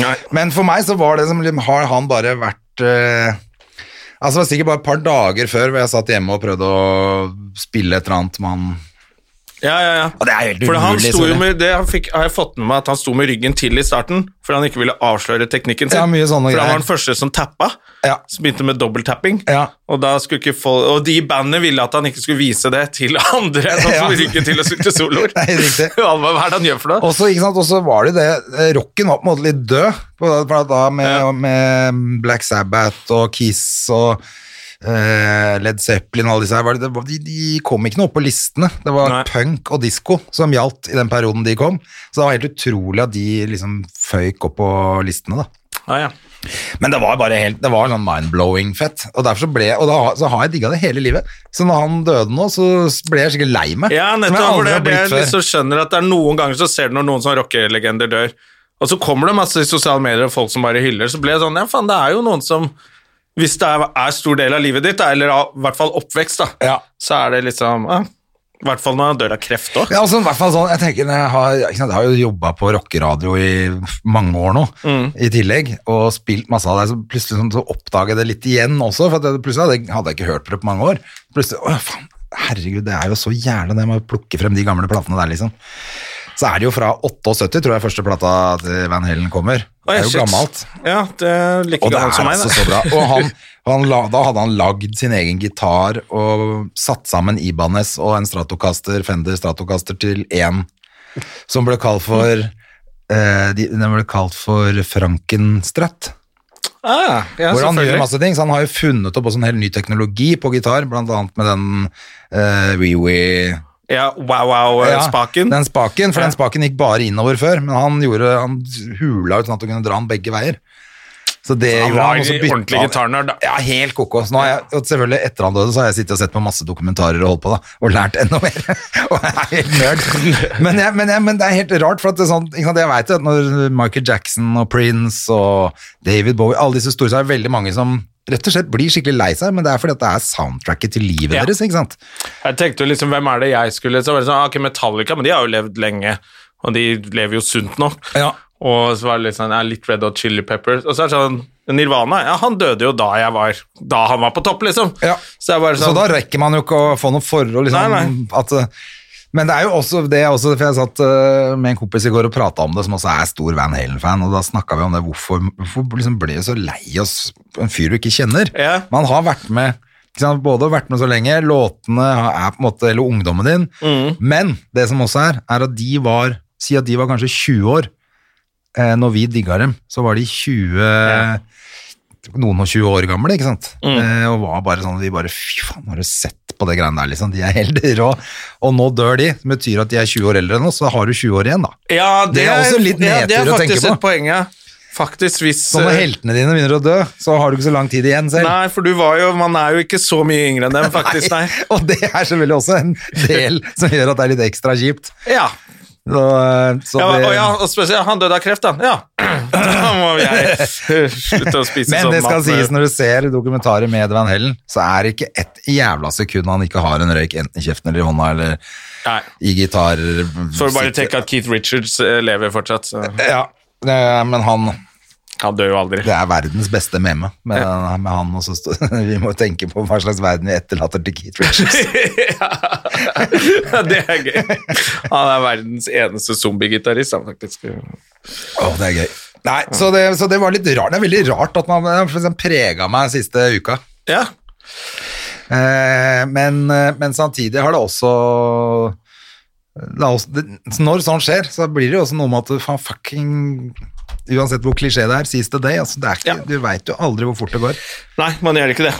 S1: Nei.
S2: Men for meg så var det som liksom, Har han bare vært eh, Altså, det var sikkert bare et par dager før hvor jeg satt hjemme og prøvde å spille et eller annet med han
S1: Ja, ja, ja.
S2: Og det er helt
S1: For han
S2: umulig,
S1: sto jo
S2: selvfølgelig.
S1: med, det han fikk, har jeg fått med meg at han sto med ryggen til i starten, for han ikke ville avsløre teknikken sin.
S2: Ja, mye sånne
S1: for han
S2: greier.
S1: var den første som tappa,
S2: Ja.
S1: som begynte med dobbelttapping.
S2: Ja.
S1: Og, da skulle ikke folk- og de i bandet ville at han ikke skulle vise det til andre, sånn som
S2: Ja.
S1: ryggen til og spilte soloer.
S2: Nei, riktig.
S1: Han var, hva er det han gjør for noe?
S2: Og så, ikke sant, og så var det det, eh, rocken var på en måte litt død, på- for at da med,
S1: Ja.
S2: med Black Sabbath og Kiss og eh, Led Zeppelin og alle disse her, var det, det var- de, de kom ikke noe opp på listene. Det var
S1: Nei.
S2: punk og disco som gjaldt i den perioden de kom, så det var helt utrolig at de liksom føyk opp på listene da.
S1: Ah, ja.
S2: Men det var bare helt, det var sånn mind-blowing fett, og derfor så ble, og da, så har jeg digget det hele livet. Så når han døde nå, så ble jeg skikkelig lei meg.
S1: Ja,
S2: som jeg
S1: nettopp.
S2: aldri
S1: For det
S2: har
S1: er det
S2: blitt
S1: jeg
S2: før.
S1: liksom skjønner at det er noen ganger så ser du når noen sånne rockelegender dør, og så kommer det masse i sosiale medier og folk som bare hyller, så blir det sånn, ja faen, det er jo noen som, hvis det er, er stor del av livet ditt, da, eller av, i hvert fall oppvekst da,
S2: Ja.
S1: så er det liksom, ja, i hvert fall når han dør av kreft også.
S2: Ja, altså, i hvert fall sånn, jeg tenker, når jeg har, ikke sant, jeg har jo jobbet på rockeradio i mange år nå,
S1: Mm.
S2: i tillegg, og spilt masse av det, så plutselig sånn, så oppdaget jeg det litt igjen også, for at det, plutselig hadde jeg, hadde jeg ikke hørt på det på mange år. Plutselig, åh, faen, herregud, det er jo så jævlig det med å plukke frem de gamle platene der, liksom. Så er det jo fra 78, tror jeg, første plata til Van Halen kommer.
S1: Å,
S2: Det er
S1: ja,
S2: jo
S1: shit.
S2: gammelt.
S1: Ja, det er like
S2: Og det er
S1: gammelt som meg.
S2: altså
S1: da.
S2: så bra. Og han, han la, da hadde han lagd sin egen gitar og satt sammen Ibanez og en Stratocaster, Fender Stratocaster til én, som ble kalt for eh, de, Den ble kalt for Frankenstrøtt.
S1: Ah, ja,
S2: Hvor han gjør
S1: selvfølgelig.
S2: masse ting, så han har jo funnet opp også en helt ny teknologi på gitar, blant annet med den eh, WeWe
S1: Ja, wow-wow-spaken.
S2: Den spaken, for
S1: Ja.
S2: den spaken gikk bare innover før, men han, gjorde, han hula ut sånn at du kunne dra den begge veier. Så det
S1: Han
S2: gjorde
S1: var
S2: han, og så
S1: en
S2: bytta
S1: ordentlig
S2: han-
S1: gitarnerd, da.
S2: Ja, helt koko. Så nå har jeg, og selvfølgelig etter han døde, så har jeg sittet og sett på masse dokumentarer og holdt på, da, og lært enda mer. og jeg er helt nerd. Men, jeg, men, jeg, men det er helt rart, for at det er sånn, ikke sant, jeg vet jo at når Michael Jackson og Prince og David Bowie, alle disse store, så er det veldig mange som rett og slett blir skikkelig lei seg, men det er fordi at det er soundtracket til livet
S1: Ja.
S2: deres, ikke sant?
S1: Jeg tenkte jo liksom, hvem er det jeg skulle Så var det sånn, ah, ok, Metallica, men de har jo levd lenge, og de lever jo sunt nå.
S2: Ja.
S1: Og så var det litt sånn, ja, litt Red Hot Chili Peppers. Og så er det sånn, Nirvana, ja, han døde jo da jeg var, da han var på topp, liksom.
S2: Ja.
S1: Så jeg bare
S2: Så
S1: sånn,
S2: da rekker man jo ikke å få noe forhold. Liksom,
S1: Nei, nei.
S2: At, eh, men det er jo også det er også, For jeg satt eh, med en kompis i går og prata om det, som også er stor Van Halen-fan, og da snakka vi om det. Hvorfor, hvorfor liksom ble vi så lei oss en fyr du ikke kjenner?
S1: Ja.
S2: Man har vært med ikke sant, både vært med så lenge, låtene er på en måte, eller ungdommen din,
S1: Mm.
S2: men det som også er, er at de var Si at de var kanskje 20 år. Eh, når vi digga dem, så var de 20 noen og 20 år gamle, ikke sant?
S1: Mm.
S2: Eh, og var bare sånn, vi bare, fy faen, har du sett på det greiene der, liksom? De er helt rå. Og nå dør de, det betyr at de er 20 år eldre nå, så har du 20 år igjen da.
S1: ja, det,
S2: Det er også litt
S1: ja, det er
S2: nedtur å tenke
S1: faktisk
S2: på.
S1: et poeng, ja. Faktisk, hvis...
S2: Så når
S1: eh,
S2: heltene dine begynner å dø, så har du ikke så lang tid igjen selv.
S1: Nei, for du var jo, man er jo ikke så mye yngre enn dem, faktisk, nei.
S2: Og det er selvfølgelig også en del som gjør at det er litt ekstra kjipt.
S1: Ja,
S2: Så, eh, så
S1: ja,
S2: det,
S1: og, ja, og spesielt, han døde av kreft da, ja. Da må jeg slutte å spise
S2: men
S1: sånn
S2: det skal
S1: mat.
S2: sies når du ser dokumentarer med Van Hellen, så er det ikke et jævla sekund han ikke har en røyk enten i kjeften eller i hånda, eller
S1: Nei,
S2: i gitar.
S1: får bare tenke at Keith Richards eh, lever fortsatt, så
S2: Ja, eh, men han...
S1: han dør jo aldri.
S2: Det er verdens beste meme med, med han. Og så står- vi må tenke på hva slags verden vi etterlater til Keith Richards.
S1: ja, det er gøy. Han er verdens eneste zombie-gitarist, han faktisk.
S2: Å, det er gøy. Nei, så det, så det var litt rart. Det er veldig rart at man liksom, prega meg siste uka.
S1: Ja,
S2: Eh, men, eh, men samtidig har det også det er også, det, Når sånt skjer, så blir det jo også noe med at du faen fucking Uansett hvor klisjé det er, seize the day. Altså, det er ikke,
S1: Ja.
S2: Du veit jo aldri hvor fort det går.
S1: nei, man gjør ikke det.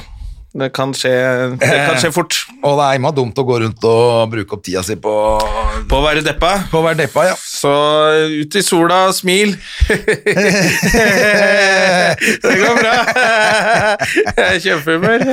S1: Det kan skje, det kan skje fort.
S2: Og det er imma dumt å gå rundt og bruke opp tida si på,
S1: På å være deppa,
S2: på å være deppa, ja.
S1: så ut i sola, smil. det går bra. Jeg er i kjempehumør.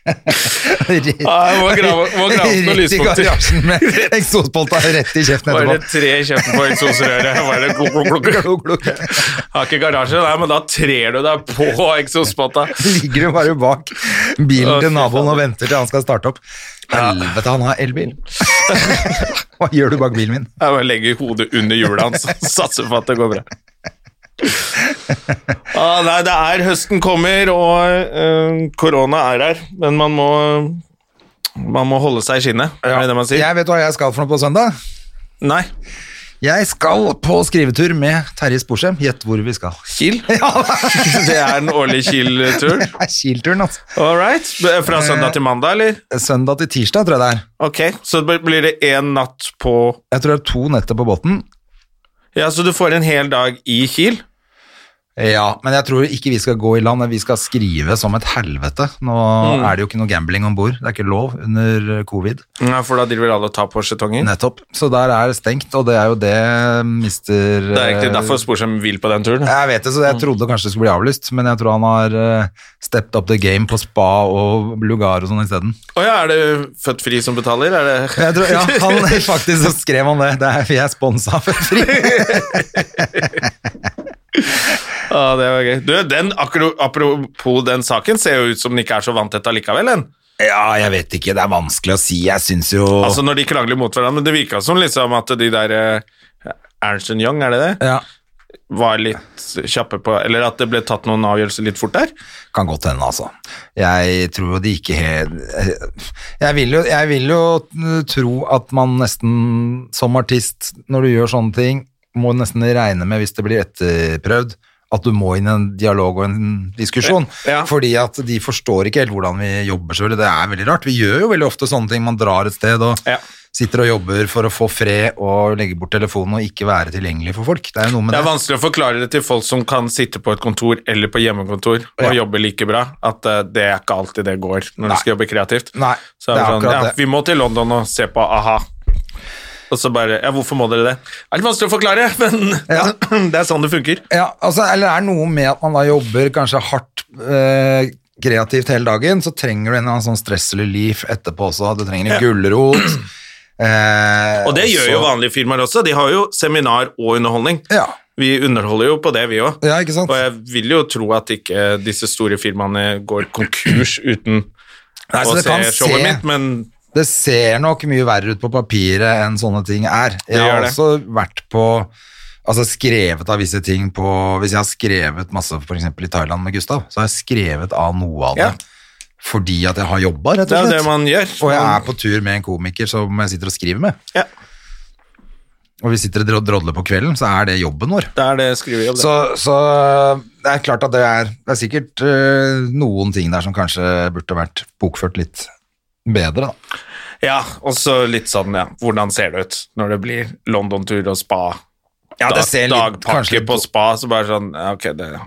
S2: Rett-
S1: Ja, jeg må grave, må grave opp noen
S2: Rett i
S1: lyspunkter.
S2: garasjen med eksospolta rett i kjeften
S1: Bare
S2: etterpå.
S1: tre kjeften på eksosrøret. Bare gluk, gluk, gluk.
S2: Glug, glug.
S1: Har ikke garasje, nei, men da trer du deg på eksospotta.
S2: Ligger du bare bak bilen
S1: Å,
S2: til
S1: fy
S2: naboen
S1: faen.
S2: og venter til han skal starte opp. Helvete, han har elbil. Hva gjør du bak bilen min?
S1: Jeg bare legger hodet under hjulet hans og satser på at det går bra. Ah, nei, det er høsten kommer, og eh, korona er her, men man må, man må holde seg i skinnet. Er det det man sier?
S2: Jeg vet hva jeg skal for noe på søndag.
S1: Nei.
S2: Jeg skal på skrivetur med Terje Sporsem. Gjett hvor vi skal.
S1: Kiel? det er en årlig Kiel-tur.
S2: Det er Kiel-turen, altså.
S1: All right. Fra søndag til mandag, eller?
S2: Søndag til tirsdag, tror jeg det er.
S1: Ok, så det blir det én natt på
S2: Jeg tror det er to netter på båten.
S1: Ja, så du får en hel dag i Kiel?
S2: Ja, men jeg tror ikke vi skal gå i land, vi skal skrive som et helvete. Nå
S1: Mm.
S2: er det jo ikke noe gambling om bord, det er ikke lov under covid.
S1: Ja, for da driver alle og tar på skjetonger.
S2: Nettopp. Så der er det stengt, og det er jo det mister eh,
S1: Det er egentlig derfor Mm. Sporsem vil på den turen.
S2: Jeg vet det, så jeg trodde kanskje det skulle bli avlyst, men jeg tror han har eh, stepped up the game på spa og lugar og sånn isteden.
S1: Å ja, er det Født Fri som betaler? Er det
S2: Jeg tror- Ja, han faktisk så skrev han det. Det er vi er sponsa for fri.
S1: Å, Ah, det var gøy. Du, den, akro, apropos den saken, ser jo ut som den ikke er så vanntett allikevel, den.
S2: Ja, jeg vet ikke, det er vanskelig å si. Jeg syns jo
S1: Altså, når de krangler mot hverandre, men det virka som liksom at de der eh, Ernst Young, er det det?
S2: ja.
S1: Var litt kjappe på Eller at det ble tatt noen avgjørelser litt fort der?
S2: Kan godt hende, altså. Jeg tror jo de ikke helt jeg vil, jo, jeg vil jo tro at man nesten som artist, når du gjør sånne ting, må nesten regne med, hvis det blir etterprøvd, at du må inn i en dialog og en diskusjon.
S1: Ja.
S2: Fordi at de forstår ikke helt hvordan vi jobber selv. Det er veldig rart. Vi gjør jo veldig ofte sånne ting. Man drar et sted og
S1: Ja.
S2: sitter og jobber for å få fred og legge bort telefonen og ikke være tilgjengelig for folk. Det er jo noe med
S1: Det
S2: det.
S1: er vanskelig å forklare det til folk som kan sitte på et kontor eller på hjemmekontor og
S2: Ja.
S1: jobbe like bra, at eh, det er ikke alltid det går når
S2: Nei.
S1: du skal jobbe kreativt.
S2: Nei, det
S1: så er
S2: er
S1: det sånn,
S2: akkurat
S1: ja,
S2: det.
S1: vi må til London og se på a-ha. Og så bare Ja, hvorfor må dere det? Det er litt vanskelig å forklare, men
S2: Ja.
S1: det er sånn det funker.
S2: Ja, altså, eller er det noe med at man da jobber kanskje hardt eh, kreativt hele dagen, så trenger du en eller annen sånn stress-relief etterpå også. Du trenger en gulrot. Eh,
S1: Og det gjør
S2: så-
S1: jo vanlige firmaer også. De har jo seminar og underholdning.
S2: Ja.
S1: Vi underholder jo på det, vi òg.
S2: Ja, ikke sant?
S1: Og jeg vil jo tro at ikke disse store firmaene går konkurs uten
S2: Nei,
S1: å
S2: så det
S1: se
S2: kan
S1: showet
S2: se-
S1: mitt, men
S2: Det ser nok mye verre ut på papiret enn sånne ting er. Jeg
S1: gjør
S2: har
S1: det.
S2: også vært på Altså skrevet av visse ting på Hvis jeg har skrevet masse f.eks. i Thailand med Gustav, så har jeg skrevet av noe av det.
S1: Ja.
S2: Fordi at jeg har jobba, rett og
S1: Det er
S2: slett.
S1: jo det man gjør.
S2: Og jeg er på tur med en komiker som jeg sitter og skriver med.
S1: Ja.
S2: Og vi sitter og dro- drodler på kvelden, så er det jobben vår.
S1: Det er det skrivejobb, det.
S2: Så, så eh, det er klart at det er, det er sikkert øh, noen ting der som kanskje burde vært bokført litt bedre, da.
S1: Ja, og så litt sånn, ja. Hvordan ser det ut når det blir London-tur og spa?
S2: Ja,
S1: Dag,
S2: det ser litt- kanskje
S1: dagpakke
S2: litt-
S1: på spa, så bare sånn ja, Ok, det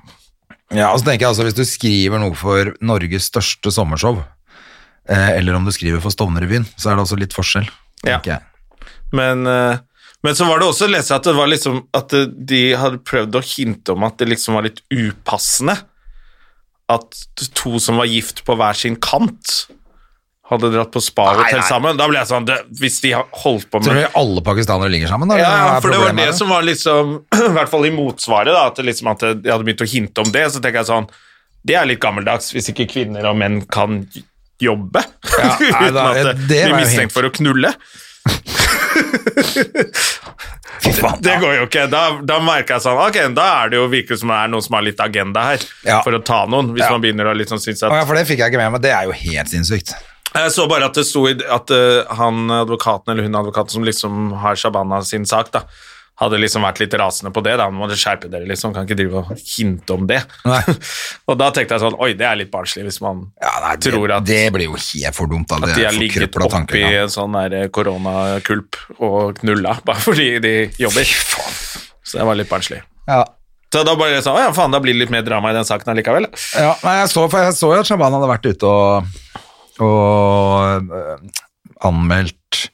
S2: Ja, og så tenker jeg altså, Hvis du skriver noe for Norges største sommershow, eh, eller om du skriver for Stovnerrevyen, så er det også litt forskjell.
S1: Ja.
S2: tenker jeg.
S1: Men, eh, men så var det også å lese at det var liksom at det- de hadde prøvd å hinte om at det liksom var litt upassende at to som var gift på hver sin kant, hadde dratt på
S2: Nei,
S1: spa-hotell
S2: nei.
S1: sammen. Da ble jeg sånn det, Hvis de har holdt på
S2: Tror
S1: med
S2: du alle pakistanere ligger sammen? da? eller
S1: ja,
S2: hva
S1: ja,
S2: er
S1: for det var
S2: problemet her,
S1: det
S2: da?
S1: som var liksom I hvert fall i motsvaret, da, at, det liksom at de hadde begynt å hinte om det. Så tenker jeg sånn Det er litt gammeldags hvis ikke kvinner og menn kan j- jobbe.
S2: Ja, nei,
S1: Uten
S2: da,
S1: at det,
S2: det
S1: blir
S2: var jo helt-
S1: mistenkt for å knulle.
S2: Fy faen,
S1: Det går jo ikke. Da, da merker jeg sånn Ok, da er det jo virker som det er noen som har litt agenda her
S2: Ja.
S1: for å ta noen. Hvis
S2: Ja.
S1: man begynner å liksom synes
S2: Å
S1: at
S2: ja, for det fikk jeg ikke med meg. Det er jo helt sinnssykt.
S1: Jeg så bare at det sto i at eh, han advokaten eller hun advokaten som liksom har Shabana sin sak, da, hadde liksom vært litt rasende på det. da, Nå må dere skjerpe dere, liksom. Kan ikke drive og hinte om det.
S2: Nei.
S1: og da tenkte jeg sånn Oi, det er litt barnslig hvis man
S2: Ja, nei, det,
S1: tror at,
S2: det blir jo helt for dumt. Da.
S1: at
S2: Det
S1: de
S2: er
S1: har ligget
S2: forkrøpla
S1: oppi
S2: tanker.
S1: en sånn der koronakulp og knulla bare fordi de jobber. Så det var litt barnslig.
S2: Ja.
S1: Så da bare sånn, «Å ja, faen, da blir det litt mer drama i den saken allikevel.
S2: Ja, nei, jeg, så, for jeg så jo at Shaban hadde vært ute og, og øh, anmeldt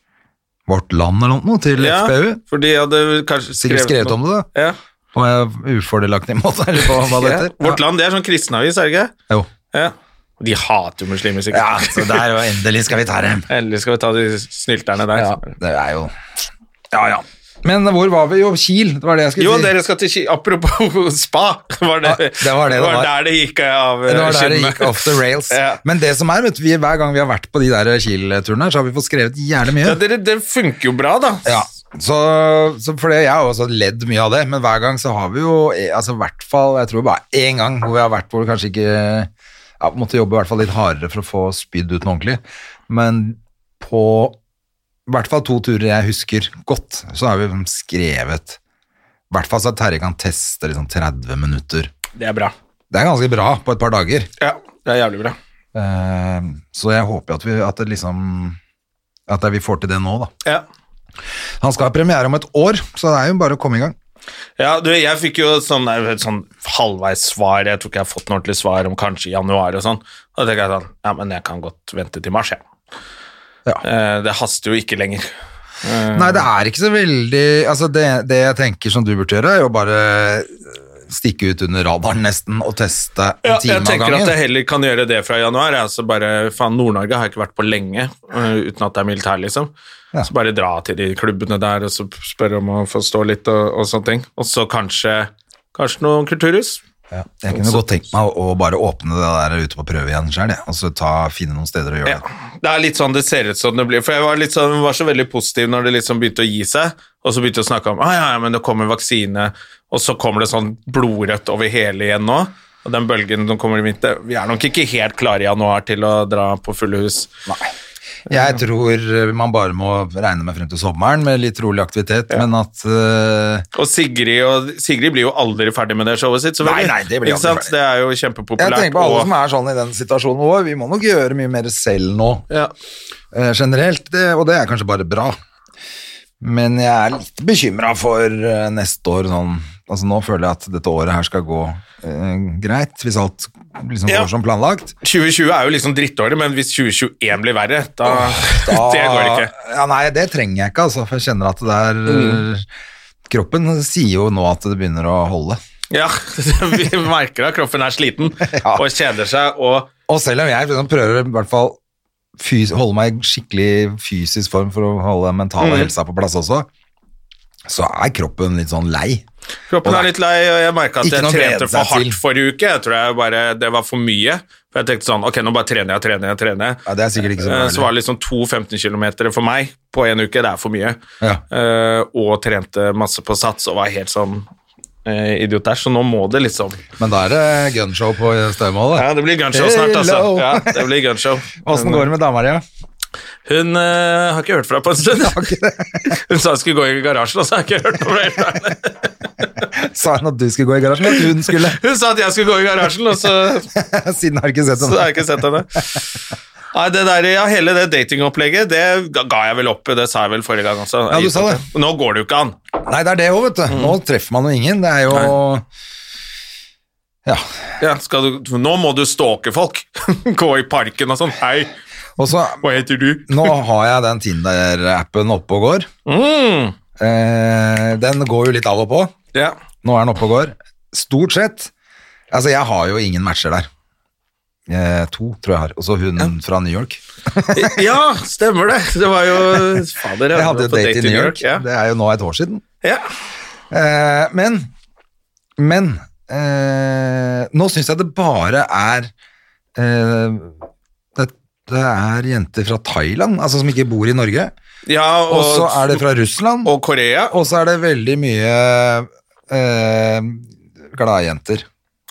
S2: Vårt Land eller noe til
S1: Ja,
S2: FPU.
S1: for de hadde kanskje
S2: Sikkert skrevet om det, da.
S1: Ja.
S2: På en ufordelaktig måte, eller på hva det
S1: Ja.
S2: heter.
S1: Vårt Land, det er sånn kristenavis, er det ikke?
S2: Ja. Jo.
S1: Ja. Og De hater jo muslimer, sikkert.
S2: Ja, så der jo endelig skal vi ta dem.
S1: Eller skal vi ta de snylterne der?
S2: Ja, det er jo Ja, ja. Men hvor var vi? Jo, Kiel, det var det jeg skulle
S1: Jo,
S2: si.
S1: dere skal til Ki Apropos spa, var det,
S2: Ja, det var det det var.
S1: der det gikk av
S2: Det var der
S1: eh,
S2: det
S1: skinnene.
S2: gikk off the rails.
S1: Ja.
S2: Men det som er, vet du, vi, hver gang vi har vært på de der Kiel-turene, her, så har vi fått skrevet jævlig mye.
S1: Ja, dere, det funker jo bra, da.
S2: Ja, så, så for det, jeg har også ledd mye av det, men hver gang så har vi jo, eh, altså i hvert fall, jeg tror bare én gang hvor vi har vært hvor vi kanskje ikke ja, måtte jobbe i hvert fall litt hardere for å få spydd ut noe ordentlig, men på i hvert fall to turer jeg husker godt, så har vi liksom skrevet, i hvert fall så at Terje kan teste liksom 30 minutter.
S1: Det er bra.
S2: Det er ganske bra på et par dager.
S1: Ja, det er jævlig bra.
S2: Eh, så jeg håper at vi, at det liksom, at vi får til det nå da.
S1: Ja.
S2: Han skal ha premiere om et år, så det er jo bare å komme i gang.
S1: Ja, du, jeg fikk jo sånn, der- et sånn halvveis svar, jeg tror ikke jeg har fått noe ordentlig svar om kanskje i januar og sånn. Da tenker jeg sånn, ja, men jeg kan godt vente til mars, jeg.
S2: Ja.
S1: Eh, Det haster jo ikke lenger. Eh.
S2: Nei, det er ikke så veldig Altså, det, det jeg tenker som du burde gjøre, er jo bare eh, stikke ut under radaren nesten og teste en
S1: Ja, jeg
S2: time av
S1: tenker at
S2: gangen.
S1: jeg heller kan gjøre det fra januar. jeg. Altså bare, faen, Nord-Norge har jeg ikke vært på lenge øh, uten at det er militær, liksom.
S2: Ja.
S1: Så bare dra til de klubbene der og så spørre om å få stå litt og, og sånne ting. Og så kanskje, kanskje noen kulturhus.
S2: Ja, jeg kunne godt tenkt meg å, å bare åpne det der ute på prøve igjen sjøl, og så ta, finne noen steder å gjøre
S1: Ja. Det er litt sånn det ser ut som det blir. For jeg var, litt sånn, var så veldig positiv når det liksom begynte å gi seg, og så begynte jeg å snakke om ah, ja, ja, men det kommer vaksine, og så kommer det sånn blodrødt over hele igjen nå. Og den bølgen som kommer i vinter Vi er nok ikke helt klare i januar til å dra på fulle hus.
S2: det. Jeg tror eh, man bare må regne med frem til sommeren med litt rolig aktivitet, men at eh,
S1: Og Sigrid, og Sigrid blir jo aldri ferdig med det showet sitt. selvfølgelig.
S2: Nei, nei, det blir
S1: Ikke
S2: aldri
S1: sant?
S2: ferdig.
S1: Det er jo
S2: Jeg
S1: kjempepopulært.
S2: tenker på alle
S1: og-
S2: som er sånn i den situasjonen vår, vi må nok gjøre mye mer selv nå.
S1: ja.
S2: eh, generelt, det, og det er kanskje bare bra. Men jeg er litt bekymra for eh, neste år. Sånn. Altså, nå føler jeg at dette året her skal gå eh, greit, hvis alt liksom
S1: Ja.
S2: går som planlagt.
S1: 2020 er jo liksom drittåret, men hvis 2021 blir verre, da, Det går ikke.
S2: Ah, Ja, nei, det trenger jeg ikke, altså, for jeg kjenner at det er
S1: Mm.
S2: eh, Kroppen sier jo nå at det begynner å holde.
S1: Ja, Vi merker at kroppen er sliten
S2: Ja.
S1: og kjeder seg. og
S2: Og selv om jeg liksom prøver i hvert fall fys holde meg i skikkelig fysisk form for å holde den mentale
S1: Mm.
S2: helsa på plass også, så er kroppen litt sånn lei.
S1: Kroppen er litt lei, og jeg merka at
S2: Ikke
S1: jeg
S2: noe å glede
S1: trente for
S2: seg til.
S1: hardt forrige uke. Jeg tror jeg bare, Det var for mye. For jeg tenkte sånn, ok, nå bare trener jeg, trener jeg, trener jeg.
S2: Ja, det er sikkert ikke så
S1: Eh,
S2: farlig.
S1: Så var det liksom to 15 kilometer for meg på en uke, det er for mye.
S2: Ja.
S1: Eh, og trente masse på sats og var helt sånn eh, idiot der, så nå må det liksom.
S2: Men da er det gunshow på Staumålet.
S1: Ja, det blir gunshow snart, altså.
S2: Hello.
S1: Ja, det blir gunshow. eh,
S2: Åssen går det med dama di? da?
S1: Hun eh, har ikke hørt fra på en stund. hun sa hun skulle gå i garasjen, og så har jeg ikke hørt på mer fra henne.
S2: Sa hun at du skulle gå i garasjen? At hun skulle?
S1: Hun sa at jeg skulle gå i garasjen, og så,
S2: Siden har jeg ikke sett
S1: så har
S2: henne.
S1: jeg ikke sett henne. Nei, det der, ja, Hele det datingopplegget det ga ga jeg vel opp. Det sa jeg vel forrige gang også.
S2: Ja, du sa det.
S1: Nå går det jo ikke an.
S2: Nei, det er det òg, vet du. Nå treffer man jo ingen. Det er jo Ja.
S1: Ja, skal du, nå må du stalke folk. Gå i parken og sånn. Hei,
S2: Og så
S1: hva heter du?
S2: Nå har jeg den Tinder-appen oppe og går.
S1: Mm.
S2: Eh, den går jo litt av og på.
S1: Ja.
S2: Nå er den oppe og går. Stort sett Altså, jeg har jo ingen matcher der. Eh, to, tror jeg har. Og så hun fra New York.
S1: ja, stemmer det. Det var jo Fader,
S2: Jeg hadde jo
S1: var på
S2: date i New York.
S1: Ja.
S2: Det er jo nå et år siden.
S1: Ja.
S2: Eh, men Men eh, Nå syns jeg det bare er eh, det, det er jenter fra Thailand, altså som ikke bor i Norge.
S1: ja,
S2: Og så
S1: og,
S2: er det fra Russland.
S1: og Korea.
S2: Og så er det veldig mye eh, gladjenter.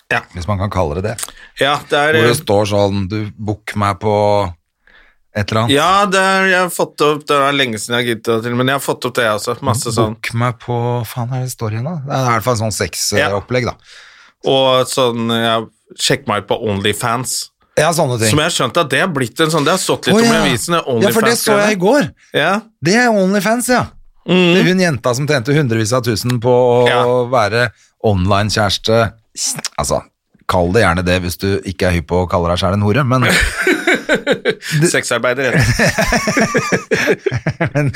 S1: Ja.
S2: Hvis man kan kalle det det.
S1: Ja, det er
S2: Hvor det står sånn Du, book meg på et eller annet.
S1: Ja, det er, jeg har fått opp Det er lenge siden jeg har giddet til, men jeg har fått opp det, jeg også. Masse sånn.
S2: Book meg på Faen, hva er det det står igjen, da? Det er i hvert fall en sånn
S1: Ja.
S2: sexopplegg, da.
S1: Og sånn ja, Sjekk meg ut på Onlyfans.
S2: Ja, sånne ting.
S1: Som jeg har skjønt at det har blitt en sånn Det har stått litt
S2: Å,
S1: om i
S2: ja.
S1: avisene.
S2: ja, for det så jeg i
S1: Onlyfans-greiene.
S2: går.
S1: Ja.
S2: Det er Onlyfans, ja. Det er hun jenta som tjente hundrevis av tusen på å
S1: Mhm. Ja.
S2: være online-kjæreste. Altså, kall det gjerne det hvis du ikke er hypp på å kalle deg sjæl en hore, men
S1: Sexarbeider heter det.
S2: en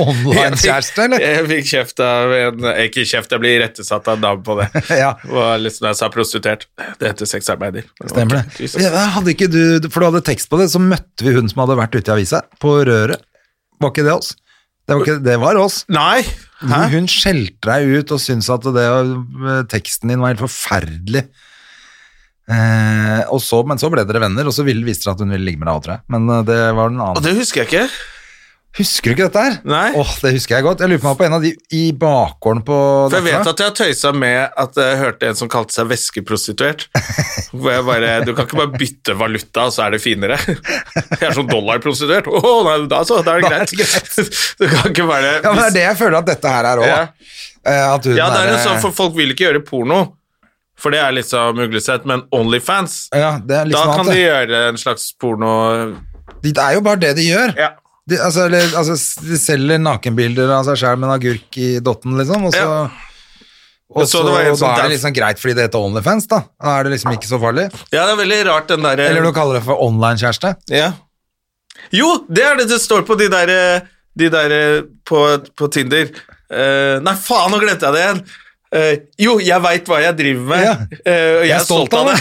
S2: online-kjæreste, eller?
S1: Jeg fikk kjeft av en Ikke kjeft, jeg blir rettesatt av en dame på det.
S2: Ja.
S1: Og liksom da jeg sa prostituert. Det heter sexarbeider.
S2: Stemmer
S1: Ok,
S2: det.
S1: Jesus.
S2: Ja, hadde ikke du, for du hadde tekst på det, så møtte vi hun som hadde vært ute i avisa, på Røret. Var ikke det oss? Det var, ikke, det var oss.
S1: Nei! Hæ?
S2: Hun skjelte deg ut og syntes at det, eh, teksten din var helt forferdelig. Eh, og så, men så ble dere venner, og så ville, viste det seg at hun ville ligge med deg òg, tror jeg. Men eh, det var en
S1: Og
S2: annen
S1: det husker jeg ikke.
S2: Husker du ikke dette her?
S1: Nei.
S2: Åh, Det husker jeg godt. Jeg lurer på meg på en av de i bakgården på
S1: For
S2: dette.
S1: jeg vet at jeg har tøysa med at jeg hørte en som kalte seg væskeprostituert. Hvor jeg bare Du kan ikke bare bytte valuta, og så er det finere. Jeg er sånn dollarprostituert. Å, nei, da så. Da er det
S2: Da er det
S1: greit. Du kan ikke bare
S2: Ja, men Det er det jeg føler at dette her er òg.
S1: Ja.
S2: At hun
S1: Ja, det er en
S2: eh,
S1: sånn, for folk vil ikke gjøre porno. For det er liksom uglesett, men Onlyfans
S2: ja, det er litt
S1: Da
S2: sånn
S1: kan
S2: at
S1: de
S2: det-
S1: gjøre en slags porno
S2: Det er jo bare det de gjør.
S1: Ja.
S2: De, altså, eller, altså, s- de selger nakenbilder av seg sjøl med en agurk i dotten, liksom. Og så,
S1: Ja.
S2: og
S1: Jeg så
S2: så,
S1: det var en sånn som
S2: da er
S1: dans-
S2: det liksom greit fordi det heter Onlyfans, da. Da er det liksom ikke så farlig.
S1: Ja, det er veldig rart, den derre
S2: Eller du kaller det for online-kjæreste.
S1: ja. Jo, det er det det står på de derre de der eh, på, på Tinder. Eh, nei, faen, nå glemte jeg det igjen! Eh, jo, jeg veit hva jeg driver med,
S2: Ja.
S1: eh, og jeg,
S2: er
S1: er stolt av det.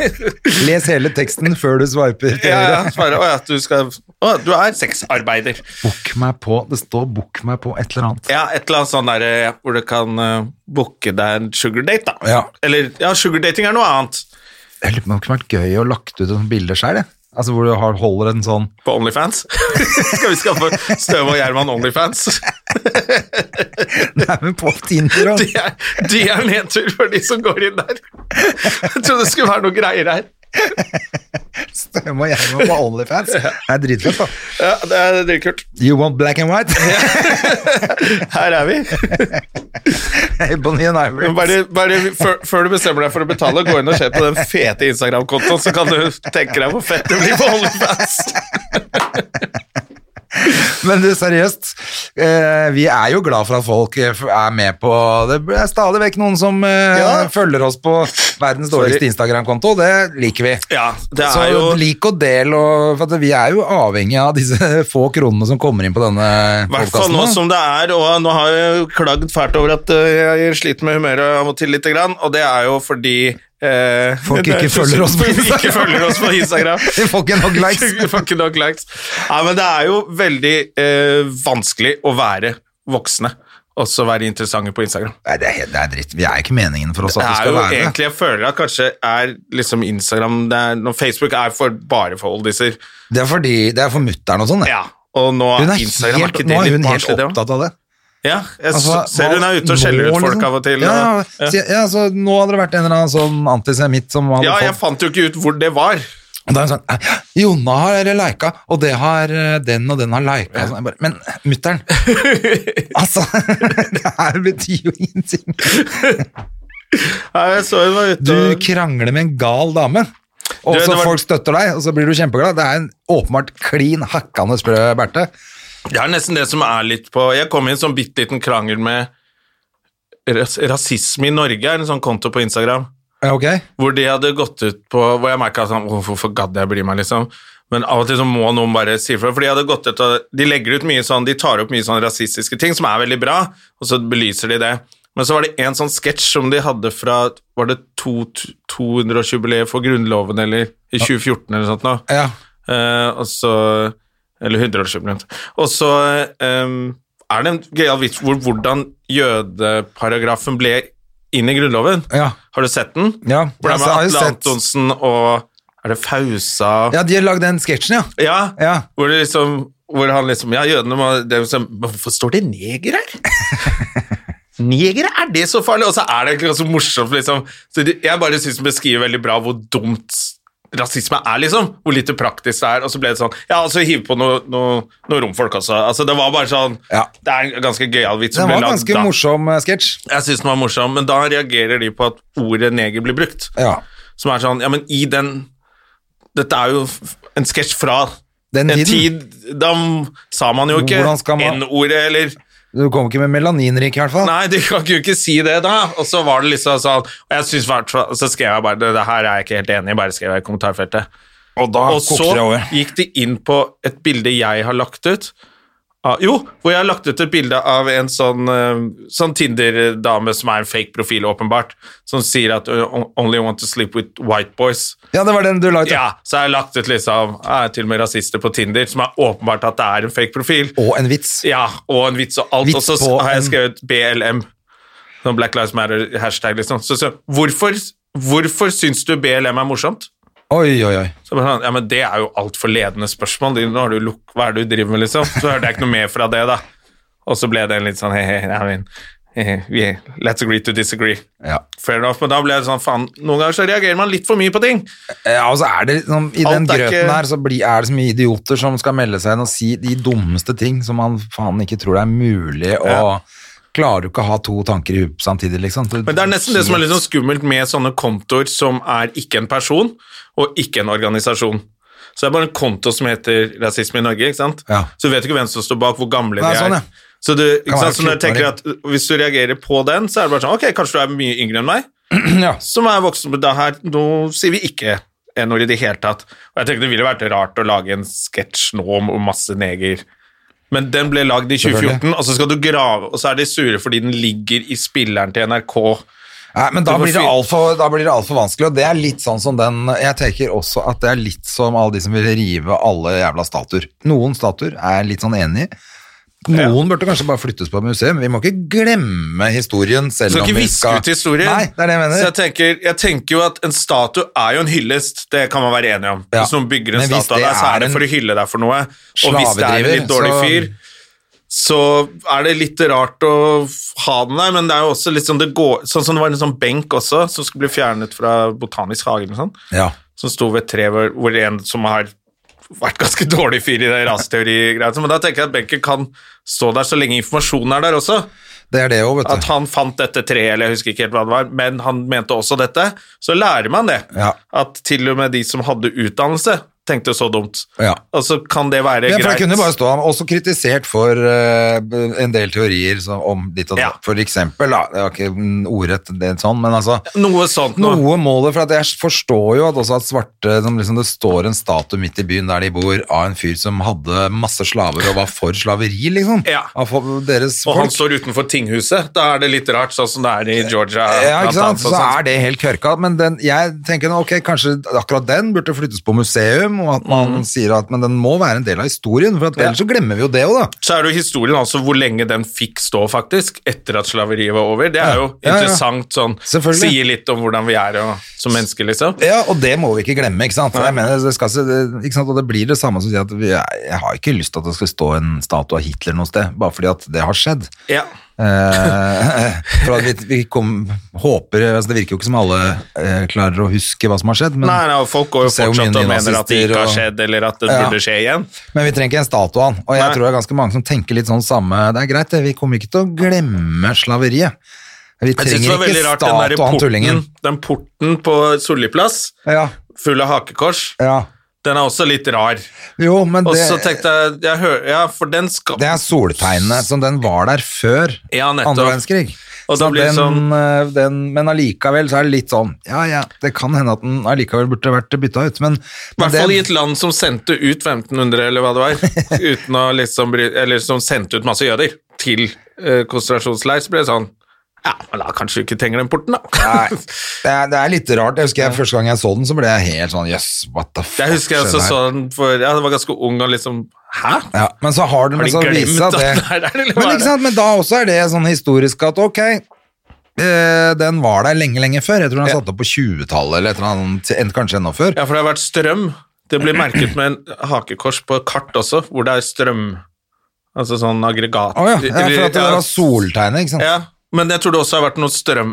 S2: Les hele teksten før du swiper til
S1: ja, ja,
S2: høyre.
S1: bare, å, ja, du, skal, å, du er sexarbeider.
S2: Book meg på Det står 'book meg på' et eller annet.
S1: Ja, et eller annet sånn der eh, hvor du kan uh, booke deg en sugardate, da.
S2: Ja.
S1: Eller ja, sugardating er noe annet
S2: Jeg lurer på om det kunne vært gøy å lagt ut et sånt bilde sjøl, jeg. Altså hvor du har, holder en sånn
S1: på Onlyfans. skal vi skaffe Støve og Gjerman Onlyfans?
S2: Nei, men på Tinder og
S1: De er, de er nedtur for de som går inn der. Jeg trodde det skulle være noe greier her.
S2: Støm og Gjerman på Onlyfans. Det er dritfett, da.
S1: Ja, det er dritkult.
S2: You want black and white?
S1: Her er vi.
S2: Ebony and Ivory.
S1: Men Bare, bare før, før du bestemmer deg for å betale, gå inn og se på den fete Instagram-kontoen, så kan du tenke deg hvor fett det blir på Onlyfans.
S2: Men du, seriøst, eh, vi er jo glad for at folk eh, f- er med på Det er stadig vekk noen som eh,
S1: Ja.
S2: følger oss på verdens dårligste Instagram-konto. Det liker vi.
S1: Ja, det
S2: Så
S1: er jo
S2: lik og del, og, for at vi er jo avhengig av disse få kronene som kommer inn på denne
S1: I hvert fall
S2: podkasten.
S1: nå som det er, og nå har jeg jo klagd fælt over at eh, jeg sliter med humøret av og til lite grann, og det er jo fordi eh,
S2: Folk
S1: det er
S2: ikke
S1: tusen-
S2: følger oss på Instagram.
S1: Ikke følger oss på Instagram.
S2: Vi får ikke nok likes.
S1: Vi får ikke nok likes. Nei, men det er jo veldig eh, vanskelig å være voksne også være interessante på Instagram.
S2: Nei, det er, helt- det er dritt. Vi er ikke meningen for oss at
S1: Det
S2: vi
S1: er
S2: skal
S1: jo
S2: være det.
S1: egentlig, jeg føler at kanskje er liksom Instagram det er, når Facebook er for bare for oldiser.
S2: Det er fordi det er for mutter'n og sånn. det.
S1: Ja, og nå
S2: Hun
S1: er
S2: er
S1: Instagram er
S2: helt,
S1: ikke
S2: nå
S1: det
S2: er hun
S1: litt
S2: helt
S1: barnslig, det også?
S2: opptatt av det.
S1: Ja, jeg
S2: Altså,
S1: s- ser hun er ute og
S2: hva-
S1: skjeller
S2: nå,
S1: ut folk
S2: liksom?
S1: av og til.
S2: Ja,
S1: og-
S2: ja, si- ja, så nå hadde det vært en eller annen sånn antisemitt som hadde
S1: ja, jeg
S2: fått
S1: fant jo ikke ut hvor det var.
S2: Og da er hun sånn «Æ, Jonna har lika, og det har eh, den og den har lika. Sånn, jeg bare, Men mutter'n Altså, det her betyr jo ingenting.
S1: Nei, jeg så hun var ute
S2: Du
S1: og
S2: krangler med en gal dame. Og
S1: Du,
S2: så
S1: det var-
S2: folk støtter deg, og så blir du kjempeglad. Det er en åpenbart klin hakkande sprø Berthe.
S1: Det er nesten det som er litt på Jeg kom i en sånn bitte liten krangel med ras Rasisme i Norge er en sånn konto på Instagram.
S2: Ja, ok?
S1: hvor de hadde gått ut på Hvor jeg merka sånn «Åh, Hvorfor gadd jeg bry meg, liksom? Men av og til så må noen bare si ifra. For de hadde gått ut og De legger ut mye sånn De tar opp mye sånn rasistiske ting, som er veldig bra, og så belyser de det. Men så var det en sånn sketsj som de hadde fra Var det to- 200-årsjubileet for Grunnloven, eller i 2014 eller noe sånt nå?
S2: Ja.
S1: Eh, og så Eller 100-årsjubileum. Og så ehm, er det en gøyal vits hvor hvordan jødeparagrafen ble inn i Grunnloven.
S2: Ja.
S1: Har du sett den?
S2: Ja,
S1: Hvor det er
S2: altså, jeg har
S1: med
S2: jo
S1: Atle
S2: sett-
S1: Antonsen og Er det Fausa?
S2: ja, de har lagd den sketsjen, ja.
S1: Ja,
S2: Ja.
S1: Hvor, det liksom, hvor han liksom Ja, jødene må det er liksom, «Men Hvorfor står det neger her? Negere, er det så farlig? Og så er det ikke så morsomt, liksom. Så det, jeg bare syns den beskriver veldig bra hvor dumt rasisme er, liksom. Hvor lite praktisk det er. Og så ble det sånn Ja, og så hive på noe, noe, noe romfolk også. Altså, det var bare sånn
S2: Ja.
S1: Det er en ganske gøyal vits
S2: Den
S1: som ble
S2: var
S1: lagd
S2: ganske
S1: da.
S2: morsom eh, sketsj.
S1: Jeg syns den var morsom, men da reagerer de på at ordet neger blir brukt.
S2: Ja.
S1: Som er sånn, ja, men i den Dette er jo f- en sketsj fra
S2: Den
S1: en
S2: tiden.
S1: tid Da m- sa man jo ikke
S2: Hvordan skal man-
S1: N-ordet, eller
S2: Du kom ikke med melaninrik, i hvert fall.
S1: Nei, du kan jo ikke si det, da! Og så var det liksom sånn Og jeg synes, hvert fall- så skrev jeg bare Det, det her er jeg ikke helt enig i, bare skrev jeg i kommentarfeltet.
S2: Og da
S1: Og så gikk de inn på et bilde jeg har lagt ut. Av, jo, hvor jeg har lagt ut et bilde av en sånn, eh, sånn Tinder-dame som er en fake profil, åpenbart, som sier at uh, only want to sleep with white boys.
S2: Ja, det var den du la ut. ja.
S1: Ja, så jeg har lagt ut liksom Jeg er til og med rasister på Tinder, som er åpenbart at det er en fake profil.
S2: Og en vits.
S1: Ja, og en vits og alt,
S2: Vits
S1: og så s-
S2: på
S1: har jeg
S2: en-
S1: skrevet BLM. Sånn Black Lives Matter-hashtag, liksom. Så, så, hvorfor, hvorfor syns du BLM er morsomt?
S2: Oi, oi, oi.
S1: Så bare sånn, ja, men Det er jo altfor ledende spørsmål. Nå har du lukk, Hva er det du driver med, liksom? Så hørte jeg ikke noe mer fra det, da. Og så ble det en litt sånn he-he, I mean, he-he, we- let's agree to disagree.
S2: Ja.
S1: Fair enough, men da ble det sånn, faen, Noen ganger så reagerer man litt for mye på ting.
S2: Ja, og så er det liksom, I
S1: Alt
S2: den
S1: er
S2: grøten
S1: ikke-
S2: her så blir, er det så mye idioter som skal melde seg inn og si de dummeste ting som man faen ikke tror det er mulig å
S1: Ja.
S2: Klarer du ikke å ha to tanker i huet samtidig, liksom?
S1: Men det er nesten det som er litt sånn skummelt med sånne kontoer som er ikke en person og ikke en organisasjon. Så det er bare en konto som heter Rasisme i Norge, ikke sant?
S2: Ja.
S1: Så du vet ikke hvem som står bak, hvor gamle
S2: Nei,
S1: de er.
S2: sånn, ja.
S1: Så, du, ikke
S2: være
S1: sant? så når jeg tenker at hvis du reagerer på den, så er det bare sånn, ok, kanskje du er mye yngre enn meg,
S2: Ja.
S1: som er voksen, men da her, nå sier vi ikke en ord i det hele tatt. Og jeg tenker det ville vært rart å lage en sketsj nå om om masse neger, men den ble lagd i 2014, og så skal du grave, og så er de sure fordi den ligger i spilleren til NRK,
S2: Nei, men da
S1: Det var
S2: blir det
S1: fint.
S2: altfor alt for vanskelig, og det er litt sånn som den Jeg tenker også at det er litt som alle de som vil rive alle jævla statuer. Noen statuer er jeg litt sånn enig i. Noen burde kanskje bare flyttes på et museum. Vi må ikke glemme historien selv
S1: skal
S2: om
S1: ikke
S2: vi
S1: viske
S2: skal
S1: ut historien.
S2: Nei, det er det jeg mener.
S1: Så jeg tenker, jeg tenker jo at en statue er jo en hyllest, det kan man være enig om.
S2: Ja.
S1: Hvis noen bygger en
S2: Men hvis
S1: statue av
S2: det
S1: deg, så
S2: er
S1: er det
S2: en
S1: for å hylle deg for noe. Og hvis det er en
S2: slavedriver,
S1: litt dårlig
S2: så-
S1: fyr, så er det litt rart å ha den der, men det er jo også litt sånn det går Sånn som det var en sånn benk også, som skulle bli fjernet fra Botanisk hage eller noe sånt,
S2: Ja.
S1: som sto ved et tre hvor, hvor en som har vært ganske dårlig fyr i det raseteori-greia, men da tenker jeg at benken kan stå der så lenge informasjonen er der også.
S2: Det er det òg, vet
S1: At
S2: du.
S1: han fant dette treet, eller jeg husker ikke helt hva det var, men han mente også dette. Så lærer man det.
S2: Ja.
S1: At til og med de som hadde utdannelse, tenkte så dumt.
S2: Ja.
S1: Og så kan det være
S2: Ja, for det
S1: greit.
S2: kunne bare stå han også kritisert for eh, en del teorier som, om ditt og
S1: Ja.
S2: datt. For eksempel, da, det var ikke mm, ordrett det sånn, men altså
S1: Noe sånt noe.
S2: noe må det, for at jeg forstår jo at også at svarte som liksom Det står en statue midt i byen der de bor, av en fyr som hadde masse slaver og var for slaveri, liksom.
S1: Ja.
S2: Av for- deres
S1: Og han
S2: folk.
S1: står utenfor tinghuset. Da er det litt rart, sånn som det er i Georgia.
S2: Ja,
S1: blant
S2: ikke sant?
S1: annet, og
S2: Så
S1: sånn.
S2: er det helt kørka, men den, jeg tenker nå, ok, kanskje akkurat den burde flyttes på museum, om, og at man
S1: Mm.
S2: sier at men den må være en del av historien, for at, ellers så glemmer vi jo det òg, da.
S1: Så er det jo historien altså hvor lenge den fikk stå faktisk, etter at slaveriet var over. Det
S2: Ja.
S1: er jo
S2: Ja, ja.
S1: interessant, sånn,
S2: Selvfølgelig.
S1: sier litt om hvordan vi er og, som mennesker, liksom.
S2: Ja, og det må vi ikke glemme, ikke sant? For Jeg mener, det skal, ikke- ikke sant? Og det blir det samme som å si at vi, jeg har ikke lyst til at det skal stå en statue av Hitler noe sted, bare fordi at det har skjedd.
S1: Ja.
S2: Eh, for at vi, vi kom, håper, altså det virker jo ikke som alle eh, klarer å huske hva som har skjedd, men,
S1: Nei, nei, folk går jo
S2: Du ser jo
S1: fortsatt
S2: mye
S1: og mener at det
S2: nazister
S1: ikke har
S2: og-
S1: skjedd, eller at det
S2: Ja.
S1: burde skje igjen.
S2: men vi trenger ikke en statue av han. Og jeg
S1: Nei.
S2: tror det er ganske mange som tenker litt sånn samme, det er greit, det, vi kommer ikke til å glemme slaveriet. Vi
S1: Jeg synes det
S2: trenger
S1: var veldig
S2: ikke
S1: rart, den
S2: statue
S1: der
S2: av han
S1: porten,
S2: tullingen.
S1: den porten på Solli plass,
S2: Ja,
S1: full av hakekors,
S2: ja.
S1: den er også litt rar.
S2: Jo, men
S1: Og så
S2: det,
S1: tenkte jeg, jeg hører, ja, for den skal...
S2: det er soltegnene, som den var der før
S1: Ja, nettopp.
S2: andre verdenskrig.
S1: Og da
S2: Så
S1: blir det
S2: den,
S1: sånn-
S2: eh, den, men allikevel så er det litt sånn Ja, ja, det kan hende at den allikevel burde vært bytta ut, men,
S1: I
S2: men
S1: hvert
S2: det,
S1: fall i et land som sendte ut 1500, eller hva det var, uten å liksom bry, eller som sendte ut masse jøder til eh, konsentrasjonsleir, så ble det sånn Ja, men da kanskje vi ikke trenger den porten, da.
S2: Nei, det, er, det er litt rart. Jeg husker jeg, Første gang jeg så den, så ble jeg helt sånn Jøss, yes, what the fuck?
S1: Jeg husker jeg også
S2: skjedde her?
S1: så den for Ja, jeg var ganske ung og liksom Hæ?
S2: ja, men så har den
S1: Har
S2: men
S1: de
S2: så
S1: glemt
S2: viser seg
S1: at
S2: at
S1: den er der, eller
S2: det
S1: hva
S2: men,
S1: er det?
S2: ikke sant? men da også er det sånn historisk at ok, eh, den var der lenge, lenge før. Jeg tror den er satt opp på 20-tallet eller et eller annet, en- kanskje enda før.
S1: Ja, for det har vært strøm. Det blir merket med en hakekors på et kart også, hvor det er strøm Altså sånn aggregat
S2: Å ja, ja, for at det
S1: ja,
S2: var soltegnet, ikke sant.
S1: ja. Men jeg tror det også har vært noe strøm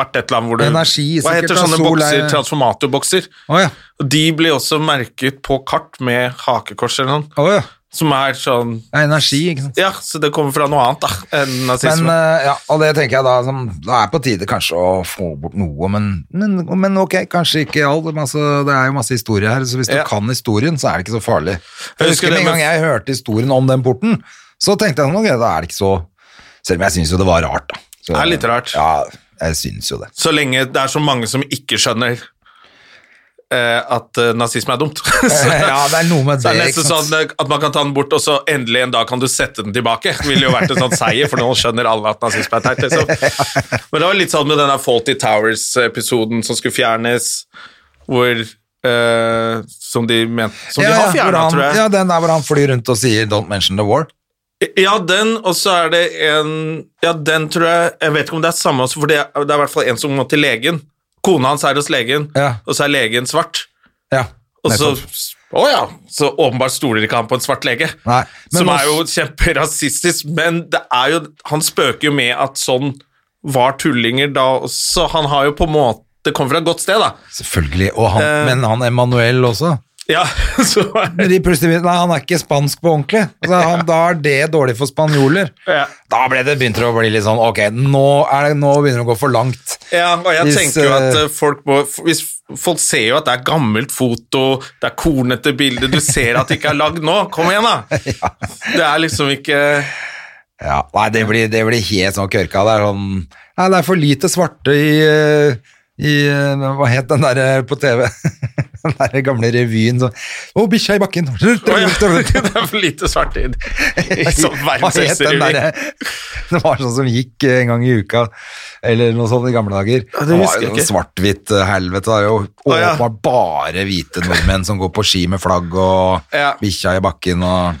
S1: Vært et eller annet hvor det
S2: Energi,
S1: Hva
S2: sikkert,
S1: heter
S2: da,
S1: sånne
S2: sol er-
S1: bokser? Transformatorbokser.
S2: Å ja.
S1: Og De ble også merket på kart med hakekors eller noe,
S2: Å ja.
S1: som er sånn
S2: Det er energi, ikke sant.
S1: Ja, så det kommer fra noe annet da, enn
S2: Men,
S1: nazisme.
S2: eh, ja, og det tenker jeg da som, Da er på tide kanskje å få bort noe, men, men, men ok, kanskje ikke alt. men altså, det er jo masse historie her, så hvis du
S1: Ja.
S2: kan historien, så er det ikke så farlig.
S1: Jeg
S2: Jeg
S1: husker
S2: husker
S1: det
S2: En gang
S1: med-
S2: jeg hørte historien om den porten, så tenkte jeg sånn, ok, da er det ikke så Selv om jeg syns jo det var rart, da. Så,
S1: Det er litt rart.
S2: Ja, jeg syns jo det.
S1: så lenge det er så mange som ikke skjønner eh, at eh, nazisme er dumt. så,
S2: Ja, det er noe med
S1: så er
S2: det,
S1: det nesten
S2: ikke sant?
S1: sånn eh, at man kan ta den bort, og så endelig en dag kan du sette den tilbake. Det ville jo vært en sånn seier, for nå skjønner alle at nazisme er teit. Liksom. Men det var litt sånn med denne Faulty Towers-episoden som skulle fjernes, hvor eh, Som de, men, som
S2: ja,
S1: de har
S2: ja, hvor
S1: fjerna,
S2: han,
S1: tror jeg.
S2: ja, den der hvor han flyr rundt og sier 'don't mention the war'.
S1: Ja, den, og så er det en Ja, den tror jeg Jeg vet ikke om det er samme, også, for det er, det er i hvert fall en som må til legen. Kona hans er hos legen,
S2: Ja.
S1: og så er legen svart.
S2: Ja,
S1: Og så
S2: nettopp.
S1: Å ja! Så åpenbart stoler ikke han på en svart lege.
S2: Nei, men
S1: som
S2: nå-
S1: er jo kjemperasistisk, men det er jo Han spøker jo med at sånn var tullinger da også. Han har jo på en måte Det kommer fra et godt sted, da.
S2: Selvfølgelig. Og han,
S1: Eh.
S2: men han Emanuel også.
S1: Ja, så
S2: Men de plutselig begynte, Nei, han er ikke spansk på ordentlig. Altså, han, Da er det dårlig for spanjoler.
S1: Ja.
S2: Da ble det begynte det å bli litt sånn Ok, nå, er det, nå begynner det å gå for langt.
S1: Ja, og jeg
S2: Hvis,
S1: tenker jo at
S2: eh,
S1: eh, folk må f- hvis, Folk ser jo at det er gammelt foto, det er kornete bilder, du ser at det ikke er lagd nå. Kom igjen, da! Det er liksom ikke
S2: Ja, nei, det blir, det blir helt sånn kørka. Det er sånn Nei, det er for lite svarte i, eh, i eh, Hva het den derre på TV? den derre gamle revyen sånn Å, bikkja i bakken!
S1: Å ja, Det er for lite svart i i sånn
S2: Hva het den
S1: verdensrevy.
S2: derre Det var sånn som gikk eh, en gang i uka, eller noe sånt i gamle dager.
S1: det
S2: det
S1: husker
S2: var
S1: jeg
S2: jo sånn
S1: ikke.
S2: svart-hvitt eh, helvete. Det er jo
S1: Å, ja.
S2: åpenbart bare hvite nordmenn som går på ski med flagg og
S1: Ja.
S2: bikkja i bakken og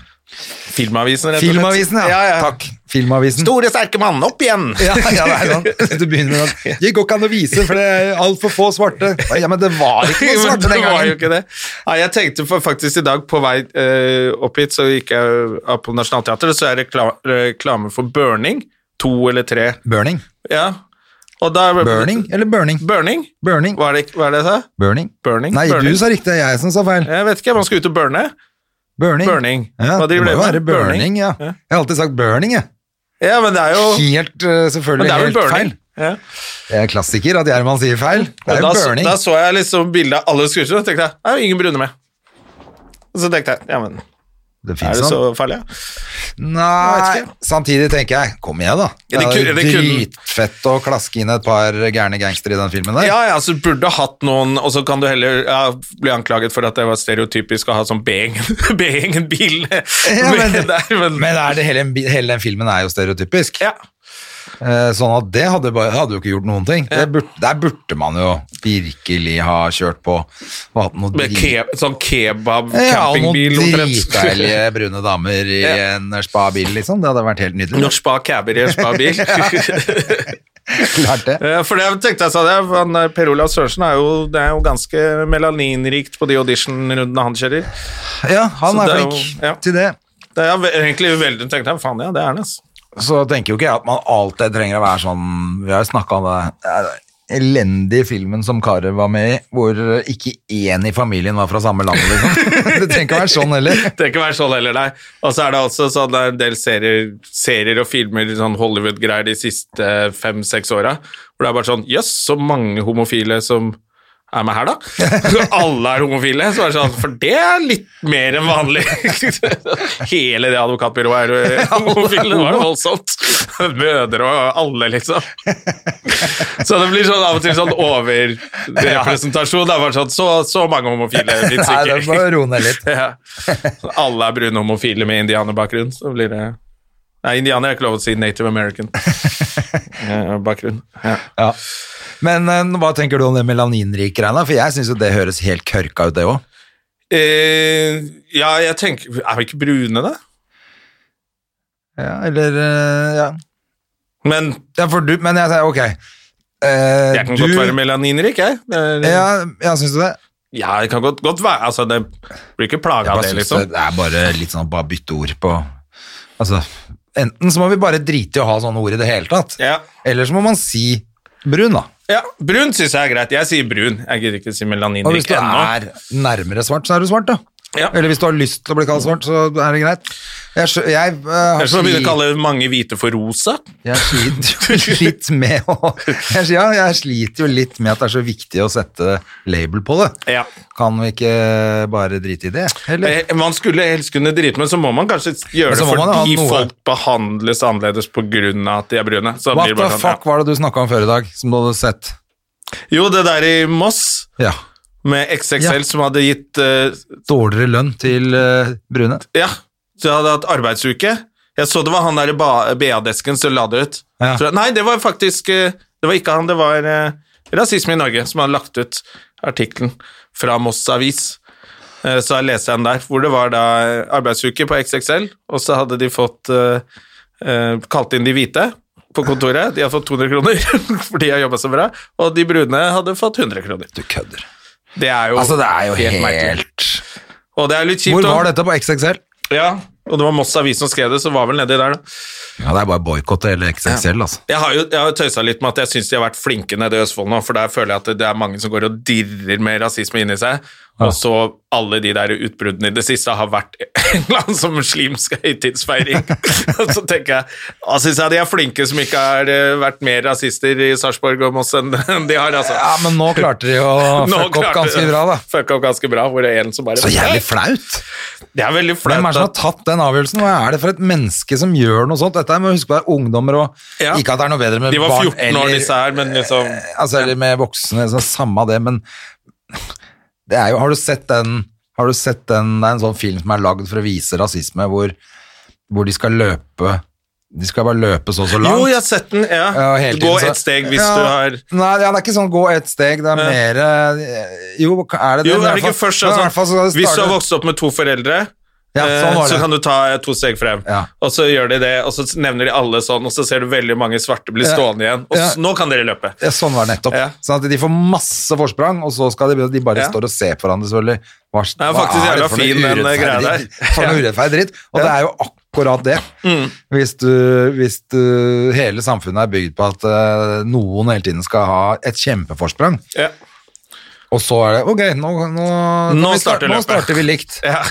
S1: Filmavisen, rett og
S2: eh,
S1: slett.
S2: Filmavisen, ja.
S1: ja,
S2: Takk. Filmavisen.
S1: Store, sterke mann, opp igjen!
S2: Ja, ja, det er sånn. Du begynner med at Det går ikke an å vise, for det er altfor få svarte. Ja, Men det var ikke noen
S1: Men
S2: svarte
S1: det
S2: den
S1: var jo
S2: gangen.
S1: ikke det. Nei, jeg tenkte for faktisk i dag på vei eh, opp hit, så gikk jeg av på Nationaltheatret, så er det rekla- reklame for burning. To eller tre.
S2: Burning.
S1: Ja. Og da
S2: Burning eller burning?
S1: Burning?
S2: Burning.
S1: Hva er det, hva er det jeg sa?
S2: Burning.
S1: Burning.
S2: Nei,
S1: burning.
S2: du sa riktig, det er jeg som sa feil.
S1: Jeg vet ikke, man skal ut og burne.
S2: Burning.
S1: Burning.
S2: Ja,
S1: Hva
S2: det
S1: driver
S2: må jo
S1: dere
S2: være
S1: med?
S2: burning, ja.
S1: Ja.
S2: Jeg har alltid sagt burning, jeg.
S1: Ja, men det er jo
S2: Helt, eh,
S1: men
S2: selvfølgelig
S1: det er vel
S2: helt
S1: burning.
S2: feil.
S1: Ja.
S2: Det er klassiker at Gjerman sier feil. Det
S1: Og
S2: er
S1: da,
S2: jo
S1: så-
S2: burning.
S1: da så jeg liksom bildet av alle skuespillerne og tenkte jeg, det er jo ingen brune med. Og så tenkte jeg, ja, men
S2: Det
S1: er
S2: finnes
S1: det
S2: noe.
S1: så farlig? ja?
S2: Nei,
S1: Jeg vet ikke.
S2: samtidig tenker jeg, kom igjen da.
S1: Ja, det kunne-
S2: Det er
S1: det kunne-
S2: dritfett å klaske inn et par gærne gangstere i den filmen der.
S1: Ja, ja, så burde hatt noen, og så kan du heller ja, bli anklaget for at det var stereotypisk å ha sånn B-ingen-bil.
S2: Ja, men,
S1: men,
S2: men er det hele, hele den filmen er jo stereotypisk.
S1: ja.
S2: Eh, Sånn at det hadde, bare, hadde jo ikke gjort noen ting. Det burde, der burde man jo virkelig ha kjørt på og hatt noe
S1: Med
S2: drit-
S1: ke sånn
S2: Ja, og noen
S1: kebab-campingbil
S2: dritdeilige brune damer i
S1: Ja.
S2: en spa-bil, liksom. Det hadde vært helt nydelig.
S1: Norsk spa caber i en spa-bil.
S2: Klart det.
S1: Eh, For det tenkte jeg sa det, for han, eh, Per Olav Sørensen er jo, det er jo ganske melaninrikt på de audition-rundene han kjører.
S2: Ja, han
S1: Så
S2: er
S1: det er jo-
S2: flink
S1: ja.
S2: til det.
S1: Det er jeg ve- egentlig veldig tenkte jeg, faen ja, det er han, altså.
S2: Så tenker jo ikke jeg at man alltid trenger å være sånn Vi har jo snakka om det. det er den elendige filmen som Kare var med i, hvor ikke én i familien var fra samme land, liksom. Det trenger ikke å være sånn heller.
S1: Det er ikke være sånn heller, nei. Og så er det også sånn, det er en del serier, serier og filmer, sånn Hollywood-greier de siste fem-seks åra, hvor det er bare sånn Jøss, så mange homofile som er med her, da. Så alle er homofile. Så er det sånn, For det er litt mer enn vanlig. Hele det advokatbyrået er eh, homofile. Det var jo voldsomt. Mødre og alle, liksom. Så det blir sånn av og til sånn overrepresentasjon. Det er bare sånn Så, så mange homofile fins
S2: Nei, det må
S1: ikke.
S2: roe ned litt.
S1: Ja. Så Alle er brune homofile med indianerbakgrunn, så blir det Nei, indianer er ikke lov å si native american eh, bakgrunn. Ja.
S2: Ja. Men eh, hva tenker du om det melaninrike-greiene? For jeg syns jo det høres helt kørka ut, det òg.
S1: Eh, ja, jeg tenker Er vi ikke brune, da?
S2: Ja, eller eh, ja.
S1: Men
S2: ja, for du Men jeg sier ok. eh,
S1: jeg kan
S2: du-
S1: godt være melaninrik, jeg. Det er-
S2: Ja, ja syns du det?
S1: ja, jeg kan godt, godt være Altså, det blir ikke plaga
S2: Jeg
S1: av
S2: bare
S1: det,
S2: synes
S1: liksom.
S2: Det er bare litt sånn bare bytte ord på Altså, enten så må vi bare drite i å ha sånne ord i det hele tatt,
S1: Ja.
S2: eller så må man si brun, da.
S1: Ja, brun syns jeg er greit. Jeg sier brun. Jeg gidder ikke si
S2: Og hvis
S1: melaninrik
S2: du
S1: ennå.
S2: er nærmere svart, så er du svart, da.
S1: Ja.
S2: Eller hvis du har lyst til å bli kalt svart, så er det greit. Jeg, skjø- jeg, eh, har
S1: Ellers må vi begynne å
S2: sli-
S1: kalle mange hvite for rosa.
S2: jeg sliter jo litt med å jeg, ja, jeg sliter jo litt med at det er så viktig å sette label på det.
S1: Ja.
S2: Kan vi ikke bare drite i det, eller?
S1: Eh, Man skulle helst kunne drite, men så må man kanskje gjøre
S2: Men så
S1: det
S2: må man jo ha
S1: fordi
S2: noe.
S1: folk behandles annerledes pga. at de er brune. Så
S2: What
S1: blir det
S2: the
S1: bare sånn,
S2: fuck var det du snakka om før i dag, som du hadde sett?
S1: Ja. Jo, det der i Moss
S2: Ja.
S1: med XXL
S2: Ja.
S1: som hadde gitt eh,
S2: Dårligere lønn til eh, brune.
S1: Ja, så jeg hadde hatt arbeidsuke. Jeg så det var han der i ba- BA-desken som la det ut.
S2: Ja.
S1: Så, nei, det var faktisk eh, Det var ikke han, det var eh, Rasisme i Norge som hadde lagt ut artikkelen fra Moss Avis. Eh, så jeg leste den der, hvor det var da eh, arbeidsuke på XXL, og så hadde de fått eh, eh, Kalt inn de hvite på kontoret. De hadde fått 200 kroner for de har jobba så bra, og de brune hadde fått 100 kroner.
S2: Du kødder.
S1: Det er jo,
S2: Altså, det er jo helt,
S1: merkelig. Og det er litt kjipt
S2: Hvor
S1: også.
S2: var dette på XXL?
S1: Ja, og det var Moss Avis som skrev det, så var vel nedi der, da.
S2: Ja, det er bare boikott hele XXL, altså.
S1: Jeg har jo jeg har jo tøysa litt med at jeg syns de har vært flinke nede i Østfold nå, for der føler jeg at det er mange som går og dirrer med rasisme inni seg. Og så alle de der utbruddene i det siste har vært en eller annen sånn muslimsk høytidsfeiring. Og så tenker jeg Da syns jeg de er flinke som ikke har eh, vært mer rasister i Sarpsborg og Moss enn enn de har, altså.
S2: Ja, men nå klarte de å
S1: Nå
S2: fucke opp
S1: klarte
S2: ganske
S1: de-
S2: bra, da.
S1: Fucka opp ganske bra, hvor det er en som bare
S2: Så jævlig flaut!
S1: Det er veldig flaut.
S2: Hvem er det som har
S1: at-
S2: tatt den avgjørelsen? Hva er det for et menneske som gjør noe sånt? Dette er med å huske på det er ungdommer og
S1: Ja.
S2: Ikke at det er noe bedre med
S1: De var
S2: barn
S1: 14 år, disse her, men liksom
S2: altså, eller med voksne, så samme av det, men det er jo, har du sett den, har du sett den, det er en sånn film som er lagd for å vise rasisme, hvor, hvor de skal løpe, de skal bare løpe så og så langt.
S1: Jo, jeg har sett den. ja.
S2: Ja, og hele
S1: Gå
S2: tiden så-
S1: et steg hvis
S2: Ja,
S1: du har
S2: Nei, ja, det er ikke sånn gå et steg, det er mer eh, Jo, er det det?
S1: Jo,
S2: Men i
S1: er det
S2: hvert
S1: ikke
S2: fall-
S1: først
S2: men i hvert fall
S1: sånn,
S2: skal det
S1: Hvis du har
S2: starte-
S1: vokst opp med to foreldre,
S2: Ja,
S1: eh,
S2: sånn var
S1: så
S2: det.
S1: kan du ta eh, to steg frem.
S2: Ja.
S1: Og så gjør de det, og så nevner de alle sånn, og så ser du veldig mange svarte bli
S2: Ja.
S1: stående igjen. Og
S2: Ja.
S1: s- nå kan dere løpe.
S2: Ja, sånn var det nettopp.
S1: Ja.
S2: Sånn at de får masse forsprang, og så skal de, de bare
S1: Ja.
S2: står og ser på hverandre, selvfølgelig. Hva,
S1: er faktisk jævla
S2: for noe
S1: fin, den eh,
S2: urettferdig-
S1: greia der.
S2: For noe
S1: Ja. Mm.
S2: urettferdig dritt. Og det er jo akkurat det. Hvis, du, hvis du Hele samfunnet er bygd på at eh, noen hele tiden skal ha et kjempeforsprang,
S1: Ja.
S2: og så er det Ok, nå, nå,
S1: Nå
S2: vi
S1: starter
S2: nå
S1: løpet.
S2: starter vi likt.
S1: Ja.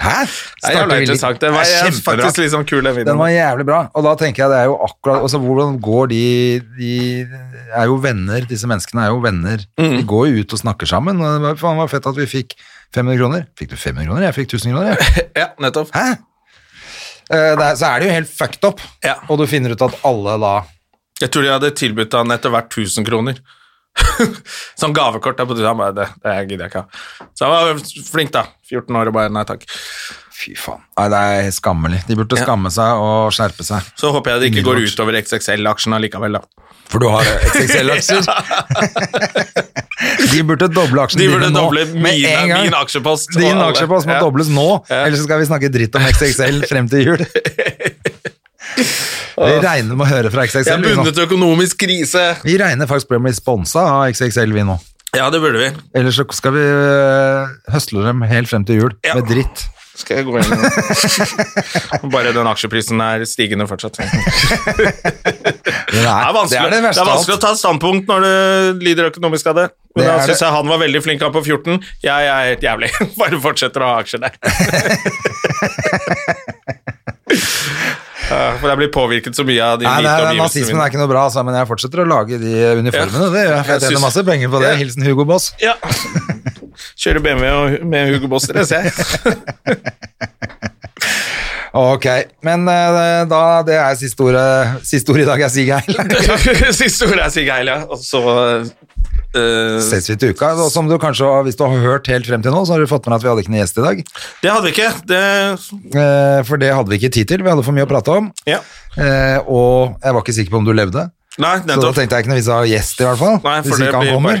S2: Hæ?
S1: Det er jævla interessant. Den var
S2: Det er
S1: jeg er
S2: kjempebra.
S1: faktisk litt sånn kul, den
S2: Den
S1: videoen.
S2: var jævlig bra, og da tenker jeg det er jo akkurat altså, Hvordan går de De er jo venner, disse menneskene er jo venner.
S1: Mm.
S2: De går jo ut og snakker sammen. Og det var, faen, det var fett at vi fikk 500 kroner. Fikk du 500 kroner? Jeg fikk 1000 kroner, jeg.
S1: Ja, nettopp.
S2: Hæ? Eh, det er, så er det jo helt fucked up,
S1: Ja.
S2: og du finner ut at alle da
S1: Jeg tror de hadde tilbudt han etter hvert 1000 kroner. Sånn gavekort. da, på det. Han bare, det, det gidder jeg ikke ha. Så han var flink, da. 14 år og bare nei takk.
S2: Fy faen. Nei, det er skammelig. De burde skamme seg og skjerpe seg.
S1: Så håper jeg det ikke går utover XXL-aksjen allikevel, da.
S2: For du har XXL-aksjer. De burde doble aksjene
S1: De burde
S2: dine nå.
S1: doble
S2: med
S1: mine-
S2: en gang.
S1: min aksjepost.
S2: Din
S1: Og alle.
S2: aksjepost må
S1: Ja.
S2: dobles nå,
S1: Ja.
S2: ellers så skal vi snakke dritt om XXL frem til jul. Vi regner med å høre fra
S1: Jeg er
S2: XXL. Vi, nå.
S1: bundet til økonomisk krise.
S2: vi regner faktisk med å bli sponsa av XXL, vi nå.
S1: Ja, det burde vi.
S2: Ellers så skal vi øh, høsle dem helt frem til jul
S1: Ja.
S2: med dritt.
S1: Skal jeg gå inn nå? Bare den aksjeprisen er stigende fortsatt. Det er,
S2: Det er,
S1: vanskelig,
S2: det, er det verste
S1: det er vanskelig å
S2: av alt.
S1: ta standpunkt når du lider økonomisk av det. Men
S2: Det
S1: da
S2: er
S1: syns
S2: det.
S1: jeg han var veldig flink, han på 14. Jeg er helt jævlig. Bare fortsetter å ha aksjer der. Ja, For jeg blir påvirket så mye av de
S2: Nei,
S1: hvite
S2: nei, nei,
S1: omgivelsene
S2: Nazismen er
S1: mine.
S2: ikke noe bra, altså, men jeg fortsetter å lage de uniformene.
S1: Ja.
S2: Det gjør jeg, for
S1: Jeg
S2: jeg tjener
S1: synes-
S2: masse penger på det.
S1: Ja.
S2: Hilsen Hugo Boss.
S1: Ja. Kjører BMW og- med Hugo Boss, dere ser.
S2: Ok, men eh, da det er siste ordet, siste ordet i dag er Sig Heil.
S1: Siste ordet er Sig Heil, ja. Og så eh,
S2: Ses vi til uka. Og som du kanskje, har- hvis du har hørt helt frem til nå, så har du fått med deg at vi hadde ikke noen gjest i dag.
S1: Det hadde vi ikke. Det,
S2: Eh, For det hadde vi ikke tid til. Vi hadde for mye å prate om.
S1: ja.
S2: Eh, Og jeg var ikke sikker på om du levde.
S1: Nei,
S2: Så da
S1: nettopp.
S2: tenkte jeg ikke noe vits i å ha gjest, i hvert fall.
S1: Nei, for
S2: hvis
S1: det
S2: ikke
S1: blir
S2: han kommer.
S1: bare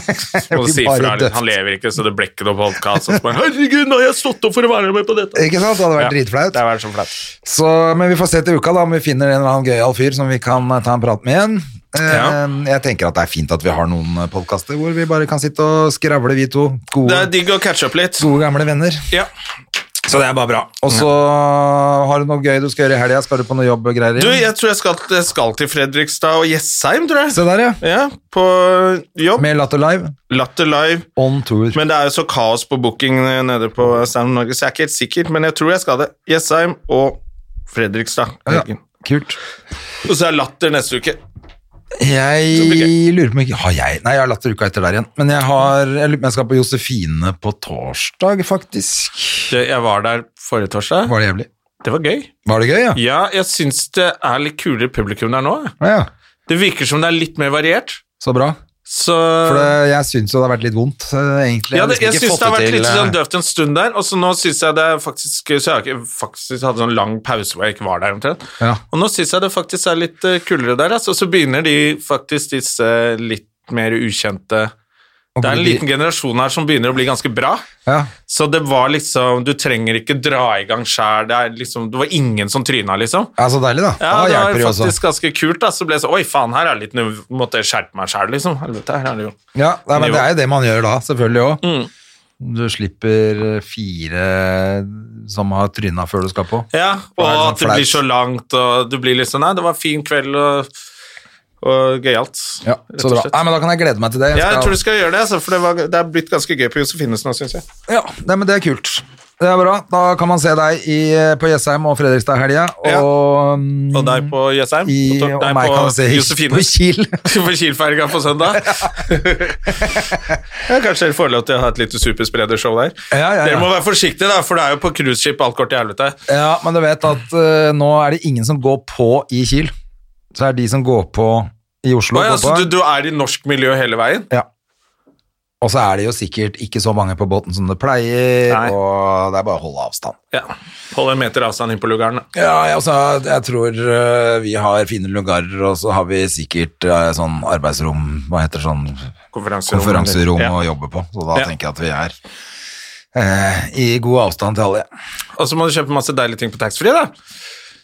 S1: kleint.
S2: Det
S1: Må du
S2: blir
S1: si
S2: bare
S1: fra litt.
S2: dødt.
S1: Han lever ikke, så det ble ikke noe podkast. Herregud, nå har jeg stått opp for å være med på dette!
S2: Ikke sant? Det hadde vært
S1: Ja,
S2: dritflaut.
S1: Det hadde vært så flaut.
S2: Så, men vi får se til uka da om vi finner en eller annen gøyal fyr som vi kan eh, ta en prat med igjen. Eh,
S1: Ja.
S2: Jeg tenker at det er fint at vi har noen podkaster hvor vi bare kan sitte og skravle, vi to.
S1: Det
S2: Gode,
S1: er digg å catche opp litt.
S2: gode gamle venner.
S1: Ja. Så det er bare bra.
S2: Og så har du noe gøy du skal gjøre i helga. Skal du på noe jobb og greier?
S1: Du,
S2: igjen?
S1: jeg tror jeg skal, jeg skal til Fredrikstad og Jessheim, tror jeg.
S2: Se der, ja.
S1: Ja, på jobb.
S2: Med Latter Live.
S1: Latter Live.
S2: On tour.
S1: Men det er jo så kaos på booking nede på Sound Norge, så jeg er ikke helt sikker, men jeg tror jeg skal det. Jessheim og Fredrikstad.
S2: ja.
S1: Helgen.
S2: Kult.
S1: Og så er Latter neste uke. Så blir det
S2: Jeg lurer på om ikke Har jeg Nei, jeg har Latter uka etter der igjen. Men jeg har Jeg, lurer på om jeg skal på Josefine på torsdag, faktisk.
S1: Det- Jeg var der forrige torsdag.
S2: Var det jævlig?
S1: Det var gøy.
S2: Var det gøy, ja?
S1: Ja, jeg syns det er litt kulere publikum der nå. jeg.
S2: Ja, ja.
S1: Det virker som det er litt mer variert.
S2: Så bra.
S1: Så
S2: For det, jeg syns jo det har vært litt vondt, eh, egentlig. har
S1: ja, det,
S2: liksom
S1: jeg
S2: ikke
S1: syns
S2: fått
S1: det har vært litt
S2: til,
S1: sånn
S2: eh,
S1: døvt en stund der, og så nå syns jeg det er faktisk Så jeg har ikke faktisk hadde sånn lang pause hvor jeg ikke var der, omtrent.
S2: Ja.
S1: Og nå syns jeg det faktisk er litt eh, kulere der, altså. Så begynner de faktisk disse litt mer ukjente Det er en liten generasjon her som begynner å bli ganske bra.
S2: ja.
S1: Så det var liksom Du trenger ikke dra i gang sjæl. Det, er liksom, det var ingen som tryna, liksom.
S2: ja, så altså, deilig, da. da
S1: Ja, det var
S2: Ah, hjelper det jo også.
S1: faktisk ganske kult. da Så ble jeg så Oi, faen, her er det litt nu Måtte jeg skjerpe meg sjæl, liksom. Helvete, her er det jo Mm.
S2: Ja, nei, men det er jo det man gjør da, selvfølgelig òg. Du slipper eh, fire som har tryna før du skal på.
S1: Ja,
S2: Da
S1: og
S2: er det sånn
S1: at det blir så
S2: flaut.
S1: langt, og du blir litt sånn Nei, det var en fin kveld, og, og gøyalt.
S2: Ja,
S1: rett
S2: så
S1: og
S2: bra.
S1: slett.
S2: Nei, men Da kan jeg glede meg til det.
S1: Ja, jeg
S2: skal-
S1: tror du skal gjøre det, altså, for det, var, det er blitt ganske gøy på Josefines nå, syns jeg.
S2: Ja, nei, men det er kult. Det er bra. Da kan man se deg i, på Jessheim og Fredrikstad i helga. Og,
S1: Ja.
S2: mm,
S1: Og deg på Jessheim.
S2: i,
S1: og
S2: og
S1: deg
S2: meg
S1: på
S2: kan man se i- på
S1: Josefine.
S2: Kiel.
S1: På Kielferga på søndag. ja, kanskje dere får lov til å ha et lite superspredershow der.
S2: Ja, ja, ja.
S1: Dere må være forsiktige, da, for det er jo på cruiseskip alt går til helvete.
S2: Ja, men du vet at eh, nå er det ingen som går på i Kiel. Så er det de som går på i Oslo.
S1: Å ja,
S2: går
S1: så
S2: på.
S1: du, du er i norsk miljø hele veien?
S2: Ja. Og så er det jo sikkert ikke så mange på båten som det pleier,
S1: Nei.
S2: og det er bare å holde avstand.
S1: Ja. Hold en meter avstand inn på lugaren. da.
S2: Ja, jeg, altså, jeg tror eh, vi har fine lugarer, og så har vi sikkert eh, sånn arbeidsrom, hva heter det, sånn
S1: Konferanserom.
S2: konferanserom
S1: Ja.
S2: å jobbe på. Så da
S1: Ja.
S2: tenker jeg at vi er eh, i god avstand til alle.
S1: Og så må du kjøpe masse deilige ting på taxfree, da.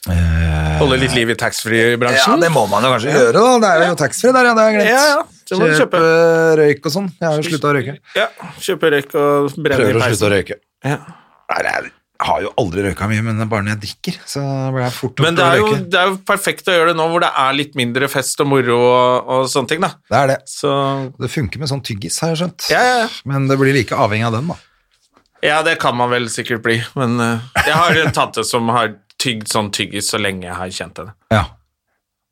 S1: Holde litt liv i
S2: Eh, Ja,
S1: taxfree-bransjen.
S2: det må man jo kanskje gjøre, da. Det er jo taxfree der, ja. Det har jeg glemt.
S1: Ja, ja, det må du
S2: Kjøpe røyk og sånn. Jeg har jo slutta å røyke.
S1: Ja, Kjøpe røyk og brenne
S2: Prøver
S1: i
S2: å slutte å
S1: peisen.
S2: røyke.
S1: Ja.
S2: Nei, jeg har jo aldri røyka mye, men det er bare når jeg drikker, så blir jeg fort
S1: Men
S2: opp å
S1: det er, jo,
S2: røyke.
S1: det er jo perfekt å gjøre det nå hvor det er litt mindre fest og moro og, og sånne ting, da.
S2: Det er det.
S1: Så
S2: Det funker med sånn tyggis, har jeg skjønt.
S1: Ja, ja, ja.
S2: Men det blir like avhengig av den, da.
S1: Ja, det kan man vel sikkert bli, men eh, jeg har en tante som har tygd sånn tyggis så lenge jeg har kjent henne.
S2: Ja.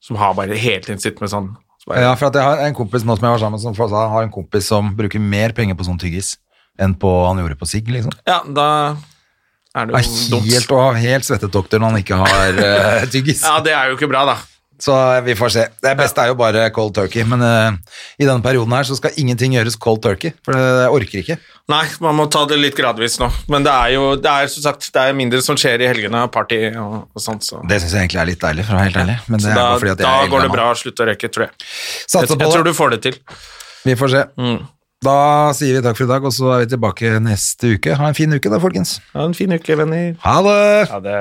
S1: Som har bare hele tiden sittet med sånn så bare,
S2: ja, for at jeg har en kompis nå som jeg var sammen med, som sa har en kompis som bruker mer penger på sånn tyggis enn på han gjorde på sigg, liksom.
S1: ja, da er det
S2: Er
S1: jo dumt.
S2: helt, og helt svettet doktor når han ikke har eh, tyggis.
S1: Ja, det er jo ikke bra, da.
S2: Så eh, vi får se. Det beste er jo bare cold turkey, men eh, i denne perioden her så skal ingenting gjøres cold turkey, for det jeg orker ikke.
S1: Nei, man må ta det litt gradvis nå. Men det er jo det er, som sagt, det er mindre som skjer i helgene, party og, og sånt. Så,
S2: Det syns jeg egentlig er litt deilig, for å være helt ærlig. Men det
S1: så
S2: er
S1: da,
S2: bare fordi at jeg
S1: da
S2: er
S1: går det
S2: eldgammel.
S1: bra å slutte å røyke, tror jeg. Jeg,
S2: Satser
S1: jeg
S2: på
S1: tror
S2: det.
S1: du Mm. får det til.
S2: Vi får se. Da sier vi takk for i dag, og så er vi tilbake neste uke. Ha en fin uke da, folkens.
S1: Ha en fin uke, venner.
S2: Ha det!
S1: Ha det.